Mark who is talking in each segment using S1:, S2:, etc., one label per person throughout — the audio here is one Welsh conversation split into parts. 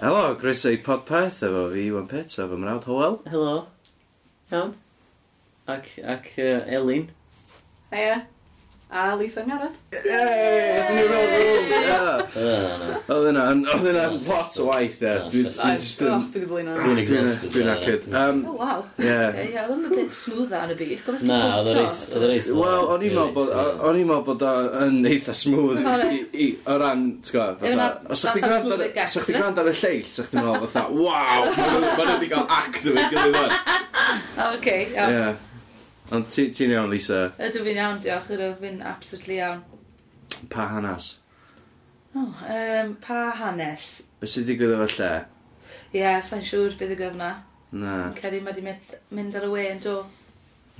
S1: Helo, groeso i podpeth efo fi, Iwan Pets, efo mrawd Howell.
S2: Helo. Iawn. Ac, ac uh, Elin.
S3: Heia. A Lisa Ngarad.
S1: Oedd
S2: Uh,
S1: yna'n, oedd
S2: Na,
S1: yna'n
S2: sexy.
S1: lot o waith, ie.
S2: Na,
S1: Dwi
S2: sexy.
S1: dwi jyst
S3: Oh,
S1: yn...
S3: dwi wedi blino.
S2: Dwi'n
S1: Dwi'n
S2: exhausted
S1: dwi'n
S2: now,
S1: acyd.
S2: yeah.
S1: Um,
S3: Oh, wow.
S1: Ie.
S4: Ie, oedd yn bit smooth ar y byd. Gofes
S2: na,
S4: ti'n
S2: oedd
S4: pob
S2: y
S4: tro.
S2: reit. Oedd y reit.
S1: Wel, o'n i'n meddwl bod, o'n i'n meddwl bod o yn eitha smooth
S4: Oedd e?
S1: i, i- o ran, ti'n gwybod, fatha,
S4: Ie, na-
S1: os ydych
S4: that's
S1: chi'n gwrando
S4: absolutely
S1: ar- os
S4: gas,
S1: ydych chi'n
S4: ie?
S1: gwrando ar y lleill, os ydych chi'n meddwl, fatha, waw, ma' nhw- ma' nhw wedi cael act o fi gilydd o'n.
S4: O, oce, iawn.
S1: Ie. Ond ti- ti'n iawn, Lisa,
S4: Ydw fi'n iawn, diolch. Ydw fi'n absolutely iawn.
S1: pa hanas?
S4: O, yym, pa hanes?
S1: Be sydd wedi gwybod efo lle?
S4: Ie, sa'n siŵr bydd y gyfna.
S1: Na.
S4: Yn credu mae di mynd- mynd ar y we yn do.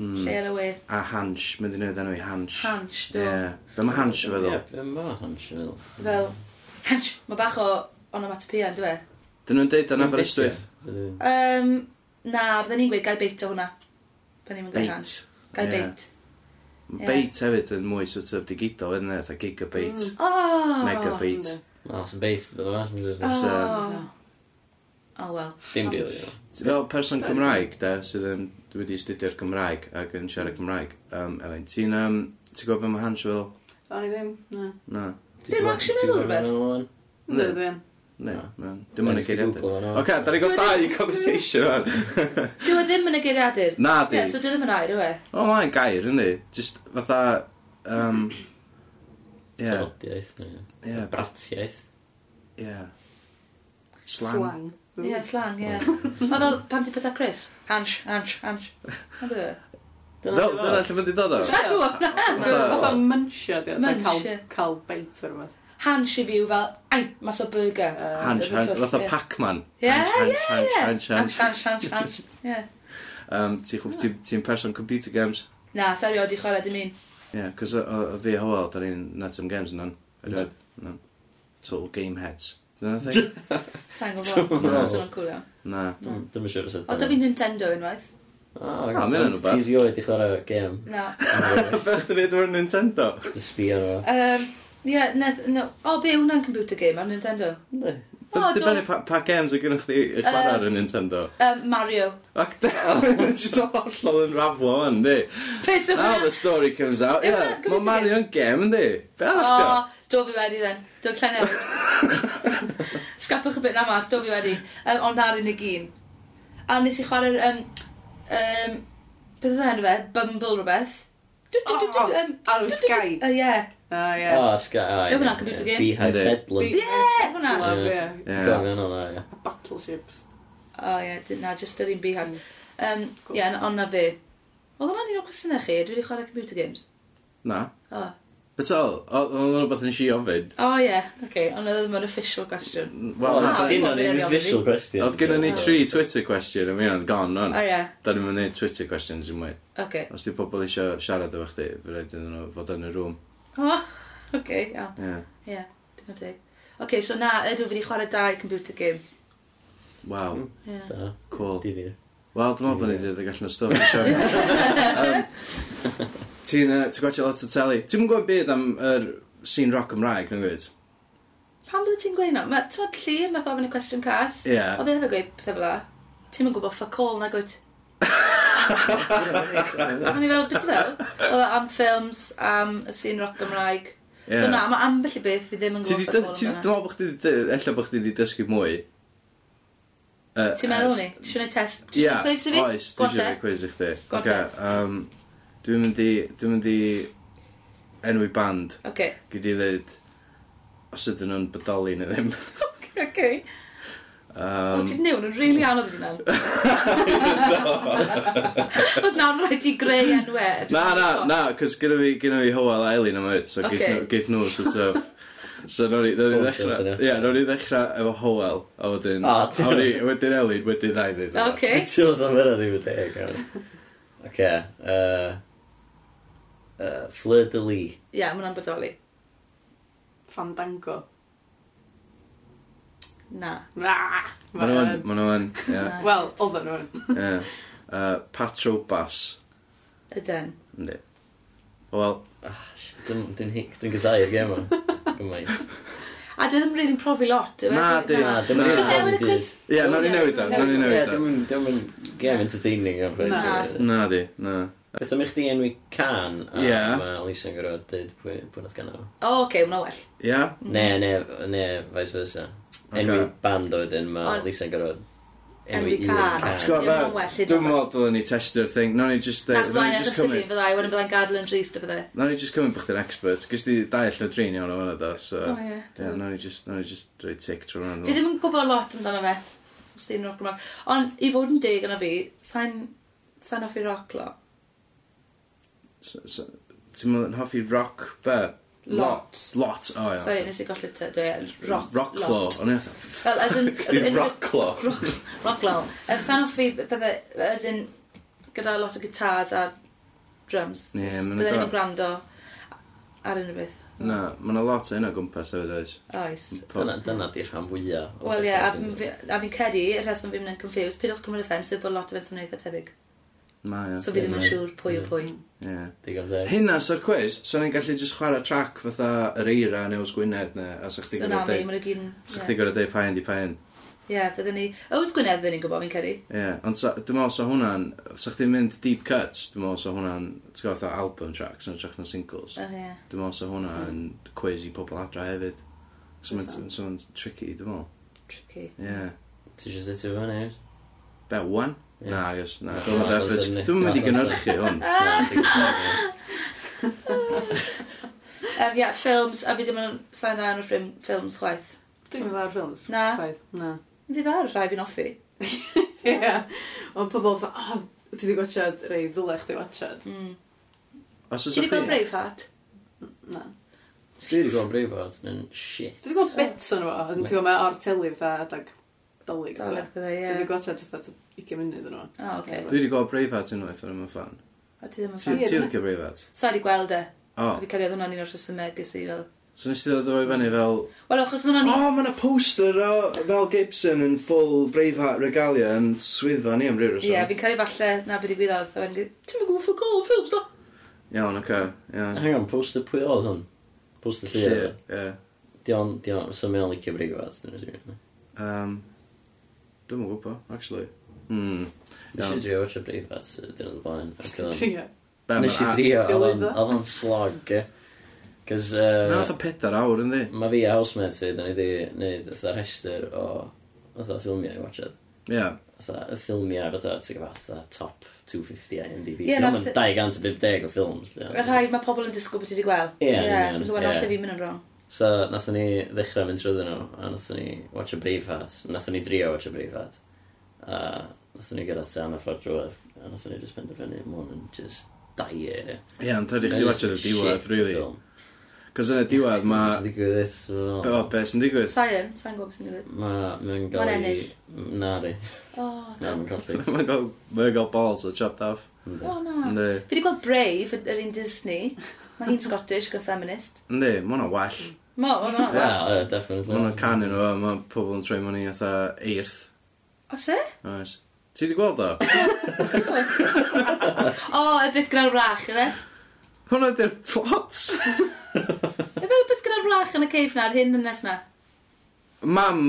S1: Hmm.
S4: Lle ar y we.
S1: A hansh, mynd i newid enw i hansh.
S4: Hansh, do.
S1: Ie. Be mae hansh yn feddwl?
S2: Be'n ma hansh yn feddwl.
S4: Fel, hansh, mae bach o onomatopia, dwi e?
S1: Dyn nhw'n deud yn Aberystwyth?
S4: Um, na, bydden ni'n gweud gai beit o hwnna. Bydden ni'n gweud hansh.
S1: Bait.
S4: Gai
S1: Ie.
S4: beit.
S1: Ma'
S4: Ie.
S1: Bait hefyd yn mwy sort of digidol, ydyn nhw, a gigabait.
S3: Mm.
S4: O!
S1: Megabait.
S2: Na, sy'n beith, bydd o'n
S4: O.
S2: hansh.
S1: Fysa-
S4: O, wel.
S2: Dim rili. no.
S1: Fel person Cymraeg, de, sydd yn dwi wedi astudio'r Cymraeg ac yn siarad Cymraeg. Um, Elin, ti'n um, ti gwybod beth mae hansh yn feddwl?
S3: O'n i ddim. Na.
S1: Na.
S2: Ti'n
S4: Dim
S2: gwbod-
S4: actually
S2: ti'n
S4: meddwl
S2: gwbod
S4: rhywbeth.
S2: be' ma'n o'n?
S3: Dwi ddim.
S1: Ne,
S2: Na.
S1: na. Dim ond y
S2: Nes di
S1: geiriadur.
S2: Google fo, no.
S1: Oce, da ni'n gael dau conversation o'n.
S4: Dwi o e ddim yn y geiriadur.
S1: Na di.
S4: Ie, so dwi ddim yn air, yw e?
S1: O, mae'n gair, yndi. Just fatha... Um, ie,
S2: Tafodiaeth, neu-
S1: ie,
S2: Bratiaeth.
S1: ie. Slang.
S3: Slang.
S4: Ie, slang, ie. Mae fel, pan ti pethau crisp? Oh. Hansh, hansh, hansh. Na bydde?
S1: Fel, dyna lle mae'n di dod o?
S3: Ie.
S4: Dwi'n gwybod
S1: Fatha-
S3: Fatha mynsia, di. Fatha
S4: Munchie.
S3: cael- cael bait o'r fath.
S4: Hansh i fiw fel, ai, mas o burger.
S1: Hansh,
S4: Ie.
S1: hansh, fatha
S4: Ie.
S1: Pac-Man.
S4: Ie,
S1: Hansh,
S4: ie,
S1: hansh, hansh,
S4: ie. Hansh,
S1: hansh.
S4: hansh, hansh, hansh. Ie.
S1: Um, ti'n chw- ti- ti'n person computer games?
S4: Na, serio, di chwarae dim un.
S1: Ie, yeah, cos o- o- o fi a Howell, da ni'n nat am games yn
S2: Na.
S1: o'n. No. Total game heads. Dyna thing?
S4: Sa'n gwybod. Mae'n sôn yn cwl iawn.
S1: Na.
S2: Mm, Dwi'm yn siŵr os
S4: O, da fi Nintendo unwaith.
S1: Ah, ma' hynna'n
S2: Ti
S1: rhywbeth.
S2: ddioed i chwarae gem.
S4: Na.
S1: Beth dyn ni efo'r Nintendo?
S2: Just sbio ar
S4: Yym, Ie, neth, no. O, be hwnna'n computer game ar Nintendo?
S2: o.
S4: O, do.
S1: Dibynnu pa pa games o gynnwch chi i chwarae ar y Nintendo.
S4: Yym, Mario.
S1: Ac da, jyst o hollol yn raflo yn, di.
S4: Peth yw
S1: Now
S4: hwnna?
S1: the story comes out. Ie,
S4: Yw hwnna'n
S1: mae
S4: computer
S1: Mario'n gem, yndi. Be arall
S4: O, do fi wedi then. Do fi newid. Scrapwch y bit na mas, do fi wedi. Um, ond na'r unig un. A nes i chwarae'r... Um, um, beth oedd enw fe? Bumble rhywbeth. Dw- dw- dw- dw- yym,
S3: Ar y Sky.
S4: O, ie.
S3: O, ie.
S1: Oh,
S2: O, Sky.
S4: Yw hwnna'n computer game?
S2: Beehive
S1: Yndi.
S2: Bedlam.
S3: Be-
S4: Ie, hwnna.
S3: Love,
S2: Ie.
S3: ie.
S1: di?
S2: Dwi'n
S1: Ie.
S2: gwybod hwnna, ie.
S3: Battleships.
S4: O, ie, dy- na, just yr un bihan. Um, ie, na- ond na fi. Oedd hwnna'n un o'r cwestiynau chi? Dwi wedi chwarae computer games?
S1: Na.
S4: O,
S1: Bet all, oedd hwnna rhywbeth yn si ofyn.
S4: o ie, oce. Ond oedd e ddim yn official question.
S1: Wel,
S2: Wel,
S1: na.
S4: na.
S2: dim ond un official question.
S1: Oedd gen ni tri Twitter question, a mi hwnna'n gone o'n.
S4: O ie,
S1: Da ni'n mynd i Twitter questions i mwy.
S4: oce.
S1: Os di pobl eisiau siarad efo chdi, fe rhaid iddyn nhw fod yn y rŵm.
S4: O, oce, iawn.
S1: Ie.
S4: Ie, digon teg. Oce, so na, ydw fi wedi chwarae dau computer game.
S1: Waw,
S4: Ie.
S2: Da,
S1: cool.
S2: di fi.
S1: Wel, dwi'n meddwl bod ni wedi dod allan o stwff. yn siarad. Yym, Ti'n yy, ti'n gwachio lot o teli. Ti'n gwybod byd am yr scene rock Cymraeg, nhw'n gwybod?
S4: Pam bydde ti'n gweud no? Mae, ti'n bod llir nath ofyn y cwestiwn cas?
S1: Ie.
S4: Oedd e hefyd yn gweud pethau fel la. Ti'n mynd gwybod ffuck all na gwyd. O'n i fel, beth i fel? Oedd e am ffilms, am y sîn rock Gymraeg.
S1: Ie.
S4: So na, mae ambell i beth fi ddim yn
S1: Ti di- Ti'n
S4: gwybod ffuck all amdano.
S1: meddwl bod chdi wedi, ella bod chdi wedi dysgu mwy? Yy,
S4: Ti'n meddwl
S1: ers-
S4: ni? Ti'n siwr test? Ti'n
S1: Ie,
S4: siwr gwneud sy'n fi?
S1: oes, dwi'n siarad cwiz i chdi.
S4: Go on
S1: Oce, yym, Dwi'n mynd i, dwi'n mynd i enwi band.
S4: Oce.
S1: Gyd i ddweud, os ydyn nhw'n bodoli neu ddim.
S4: Oce.
S1: Um,
S4: O, ti'n newn yn rili anodd i nawr. Oedd nawr rhaid i greu enwau.
S1: Na, na, na, cos gyda fi, gyda fi Howell a Eileen yma, so
S4: Oce.
S1: geith nhw- geith nhw sort of... So nawn ni, nawn ni
S2: Options,
S1: ddechrau,
S2: ie.
S1: ie, nawn ni ddechrau efo Howell, a wedyn,
S2: O,
S1: a ni, wedyn Eileen, wedyn na i ddweud. o.
S4: Oce.
S2: Ti'n oedd am yna ddim yn deg, iawn. Oce, yy... yy, Fleur de Lis.
S4: Ie, mae hwnna'n bodoli.
S3: Fandango.
S4: Na.
S3: Ah,
S1: Ma' nhw yn, ma' nhw yn, ie,
S4: Na.
S3: Wel, e oedden nhw.
S1: ie. Yy, Patrobas,
S4: Yden.
S1: yndi. Howell,
S2: Ah, shit, Dwi'n dwi'n hic, dwi'n gysau i'r gem o'n. Gymaint.
S4: A dwi ddim rili'n profi lot. yw e?
S1: Na, di.
S2: Na, dim
S1: Na.
S2: yn
S1: Ie,
S4: Should I newid y
S2: handi.
S4: quiz?
S1: nawn ni newid o, nawn ni
S2: Ie,
S1: newid o.
S2: dim yn, dim yn game entertaining o'r
S3: Na.
S2: beth.
S1: Na di, na.
S2: Beth am i chdi enwi can, a
S1: Ie.
S2: mae Elisa'n gorfod dweud pwy pwy nath gannau.
S4: O, oce, hwnna well.
S1: Ia?
S2: Ne, ne, ne, vice versa.
S1: Ocê.
S2: Enwi band o wedyn, mae
S4: Ond-
S2: Elisa'n gorfod enwi
S4: Enwi
S2: un
S4: can.
S1: A ti'n
S2: can.
S1: gwybod
S4: gwbod- Ie, ma'n well,
S1: be?
S4: hyd
S1: Dwi'n
S4: yn
S1: meddwl dylen ni testio'r thing. Nawn ni just...
S4: Nath
S1: Nawn
S4: flaen
S1: ni
S4: ar y
S1: just
S4: syni
S1: cymryd...
S4: fydda i, wedyn bydda'n gadw yn drist o bydde.
S1: Nawn ni just cymryd bych chi'n expert. Gys di dau allu drin iawn o hwnna do, so...
S4: O, ie.
S1: Ie, nawn ni just, nawn ni just drwy tic trwy hwnna.
S4: Fi ddim yn gwybod lot amdano fe. Sy'n rock Gymraeg. Ond i fod yn deg yna fi, sa'n... Sa'n offi rock lo.
S1: S- s- Ti'n mynd yn hoffi rock be?
S4: Lot.
S1: Lot, o ia.
S4: Sorry, nes i golli ty. Dwi yn rock,
S1: Rock law.
S4: lot.
S1: O'n i fatha,
S4: Fel, as in...
S1: "Chdi Rock law.
S4: Rock lo. Yn sa'n offi bydde... As in... Gyda lot o gitars a drums.
S1: Ie, ma' nhw'n
S4: Bydde ni'n
S1: gorfod.
S4: gwrando ar unrhyw beth.
S1: Na, mae yna lot o hyn o gwmpas hefyd oes.
S4: Oes.
S2: Dyna, dyna di'r rhan fwyaf. o
S4: Wel ie, a
S2: bethau.
S4: fi'n- fi- a fi'n credu, y rheswm fi'n mynd yn confused, pidwch cymryd offensive bod lot o fe'n swnio eitha tebyg.
S1: Mae o.
S4: So fi ddim yn
S2: Ie.
S4: siŵr pwy o pwy.
S1: Ie.
S2: Digon teg.
S1: Hynna sy'r cwiz, so ni'n gallu just chwarae track fatha yr eira neu os Gwynedd ne, a sa'ch ti'n gwybod
S4: Tsunami,
S1: deud...
S4: mae'n y gyd yn...
S1: Sa'ch
S4: ie.
S1: ti'n gwybod deud pa hyn di pa hyn.
S4: Ie, byddwn ni... Oes Gwynedd ddyn ni'n gwybod, fi'n credu.
S1: Ie, ond sa- dwi'n meddwl sa hwnna'n... Sa'ch ti'n mynd deep cuts, dwi'n meddwl sa hwnna'n... Ti'n gwybod fatha album tracks yn trach na singles.
S4: O, ie.
S1: Dwi'n meddwl sa hwnna'n cwiz i pobl adra hefyd. So
S4: Fatha.
S1: mae'n so mae'n tricky, dwi'n meddwl.
S4: Tricky.
S1: Ie.
S2: Ti eisiau sut i fyny?
S1: Be, one?
S2: Ie.
S1: Na, agos. Na,
S2: Na,
S1: dwi'n
S2: allan
S1: meddwl efforts.
S2: syni.
S1: Dwi'n mynd i
S2: Allan
S1: gynnyrchu hwn.
S4: Um, ie, ffilms, a fi ddim yn sain dda yn o ffrim, ffilms chwaith.
S3: Dwi'n mynd ar ffilms.
S4: Na.
S3: Chwaith. Na.
S4: Fi dda ar y rhai fi'n offi.
S3: Ie. Ond pobl fa, oh, ti di gwachad rei ddyle chdi wachad.
S4: Mm.
S1: Os oes
S4: Ti di
S1: o'ch
S4: gweld
S1: chi...
S4: Braveheart?
S3: Na.
S2: Fi wedi gweld Braveheart, mae'n shit.
S3: Dwi'n gweld bits o'n efo, ond ti'n gweld mae o'r teli fatha adag dolyg.
S4: Dal ar
S3: Dolyg.
S4: bydde,
S3: Dwi'n
S4: ie.
S3: gwachad fatha 20 munud yn efo.
S4: O, oce.
S1: Dwi wedi gweld Braveheart unwaith, ond yma'n fan.
S4: A ti ddim yn
S1: Ti
S4: ffaith.
S3: Ie,
S1: ti
S3: dwi'n-
S1: licio Braveheart?
S4: Sa di gweld e.
S1: O,
S4: A fi credu oedd hwnna'n un o'r rhesymau ges i fel...
S1: so nes ti ddod o'i fyny fel...
S4: Wel, achos
S1: O,
S4: hwnna'n un...
S1: mae yna poster o Mel Gibson yn full Braveheart regalia yn swyddfa ni am ryw
S4: Ie,
S1: rhywbeth.
S4: fi'n credu falle na beth i gwyddoedd. A wedyn, gyd, ti'n mynd gwybod ffwc o ffilms da?
S1: Iawn, oce. Iawn.
S2: Hang on, poster pwy oedd hwn? Poster llir.
S1: Llyr, ie.
S2: Dion, dion, so mae'n licio Braveheart. Dwi'n siŵr.
S1: Yym, Dwi'm yn gwybod, actually. Hmm.
S2: Nes i drio watch o Braveheart, dyn oedd blaen. ac oedd o'n-
S3: Ie.
S1: Be, ma'
S2: Nes i
S1: a-
S2: drio, oedd
S3: Ti'n
S2: o'n-
S3: lwyddo?
S2: oedd o'n slog, e. Cos,
S1: Na, oedd o pedair awr yn di.
S2: mae fi a housemate fi, dyn ni wedi gwneud oedd rhestr o oedd ffilmiau i watchad.
S1: Ie.
S2: Fatha, y ffilmiau fatha, ti'n gwybod, fatha top 250 IMDb. Ie,
S4: Ie, na,
S2: na. Dwi'n
S4: ffi-
S2: 250 o ffilms. ie.
S4: Y rhai mae pobl yn disgwyl beth i di gweld.
S2: Ie, yn
S4: yeah,
S2: union,
S4: fi'n gwybod
S2: ie.
S4: allan fi'n mynd yn wrong.
S2: So, nathon ni ddechrau mynd trwy nhw, a nathon ni watch a Braveheart, nathon ni drio watch a Braveheart, a nathon ni gyda tan a ffordd drwodd, a nathon ni just penderfynu, ma hwn yn just dair.
S1: Ie, ond rhaid i chdi watch ar y diwedd, really. Cos yn y diwedd,
S2: Mae'n
S1: mae...
S2: digwydd this,
S1: O, be sy'n digwydd?
S4: Sa'n, sa'n gwybod beth sy'n digwydd.
S2: Mae'n
S4: Ma'n
S2: gael i...
S4: ennill.
S2: Na di,
S4: O,
S2: na, mae'n colli.
S1: Mae'n gael- mae'n gael balls o chopped off.
S4: o na.
S1: Yndi.
S4: Fi di gweld Brave, y- yr un Disney. Mae hi'n Scottish, gan feminist.
S1: Yndi, mae hwnna well.
S4: Mo, mo, mo.
S2: Wel, ie, definitely.
S1: Mae hwnna can yn o, mae pobl yn troi mwyn i atha eirth.
S4: O, se?
S1: Oes. Ti wedi gweld o?
S4: O, y bit gyda'r wrach, yfe?
S1: Hwnna ydy'r plot!
S4: Yfe y bit gyda'r wrach yn y ceif na, yr hyn yn nes na.
S1: Mam,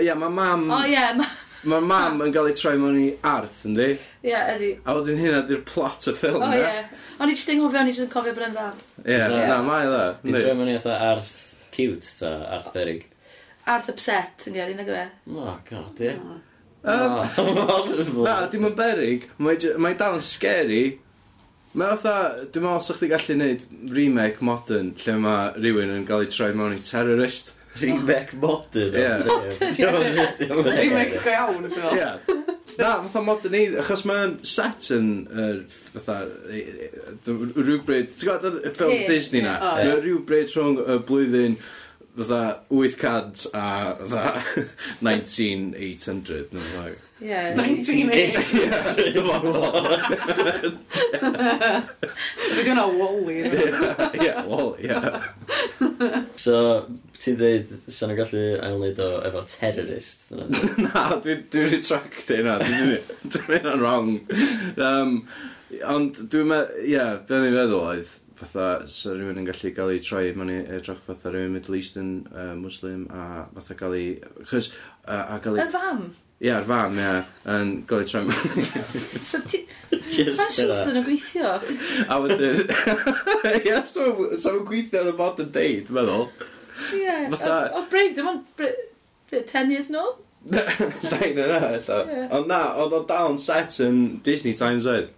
S1: ia, mae mam,
S2: Hmm.
S4: O, ie, ma-
S1: mae mam yn cael ei troi mwyn i arth, yndi?
S4: ie, ydi.
S1: A wedyn hynna ydy'r plot y ffilm,
S4: O, Oh, ie. O'n i jyst yn hofio, o'n i jyst yn cofio bod yn dda.
S1: Ie,
S2: Ie.
S1: na, mae dda.
S2: Di troi mewn i eitha arth cute, ta, arth berig.
S4: Arth upset, yn iawn, un o gyfe.
S2: Oh, god, ie. Oh.
S1: Yym,
S2: Horrible.
S1: Na, dim yn berig, mae j- mae dal yn scary. Mae otha, dwi'n meddwl sa'ch chi gallu neud remake modern lle mae rhywun yn cael ei troi mewn i terrorist.
S2: Remake modern.
S1: Ie.
S3: Remake go iawn yn
S4: Oh.
S1: Ie.
S3: ffilm.
S1: Na, fatha modern i, achos mae'n set yn, yr, fatha, i- i- dy- rhywbryd, ti'n gwybod y ffilms
S4: Ie, Oh,
S1: Disney na?
S3: ie.
S1: Mae rhywbryd rhwng y blwyddyn, fatha, 800 a, fatha, 1900, neu beth.
S4: Ie.
S3: 1980.
S1: Ie, dyma fo.
S3: Dwi'n gwneud Wally.
S1: Ie, wel, ie.
S2: So, ti dweud, sa'n nhw'n gallu ailwyd o efo terrorist. dyna ti?
S1: Na, dwi'n dwi retract hynna, dwi'n mynd yn wrong. Um, ond dwi'n meddwl, ie, yeah, dyna ni'n feddwl oedd, fatha, sa rhywun yn gallu gael ei troi, mae'n edrych fatha rhywun Middle Eastern uh, Muslim, a fatha gael ei, chys, a, a gael
S4: Y
S1: ei,
S4: fam.
S1: ie, ar fan, ie, yn gael ei troi,
S4: So ti... Mae'n
S2: Just
S4: siwrs
S2: yna.
S4: yn y gweithio.
S1: a wedyn, ie, so, so mae'n gweithio ar y bod yn deud, meddwl,
S4: Ie.
S1: Fatha-
S4: O, brave, dim ond... br- br- 10 years nôl?
S1: Dain yna, ella.
S4: Ie.
S1: Ond na, oedd o dal yn set yn Disney Times oedd.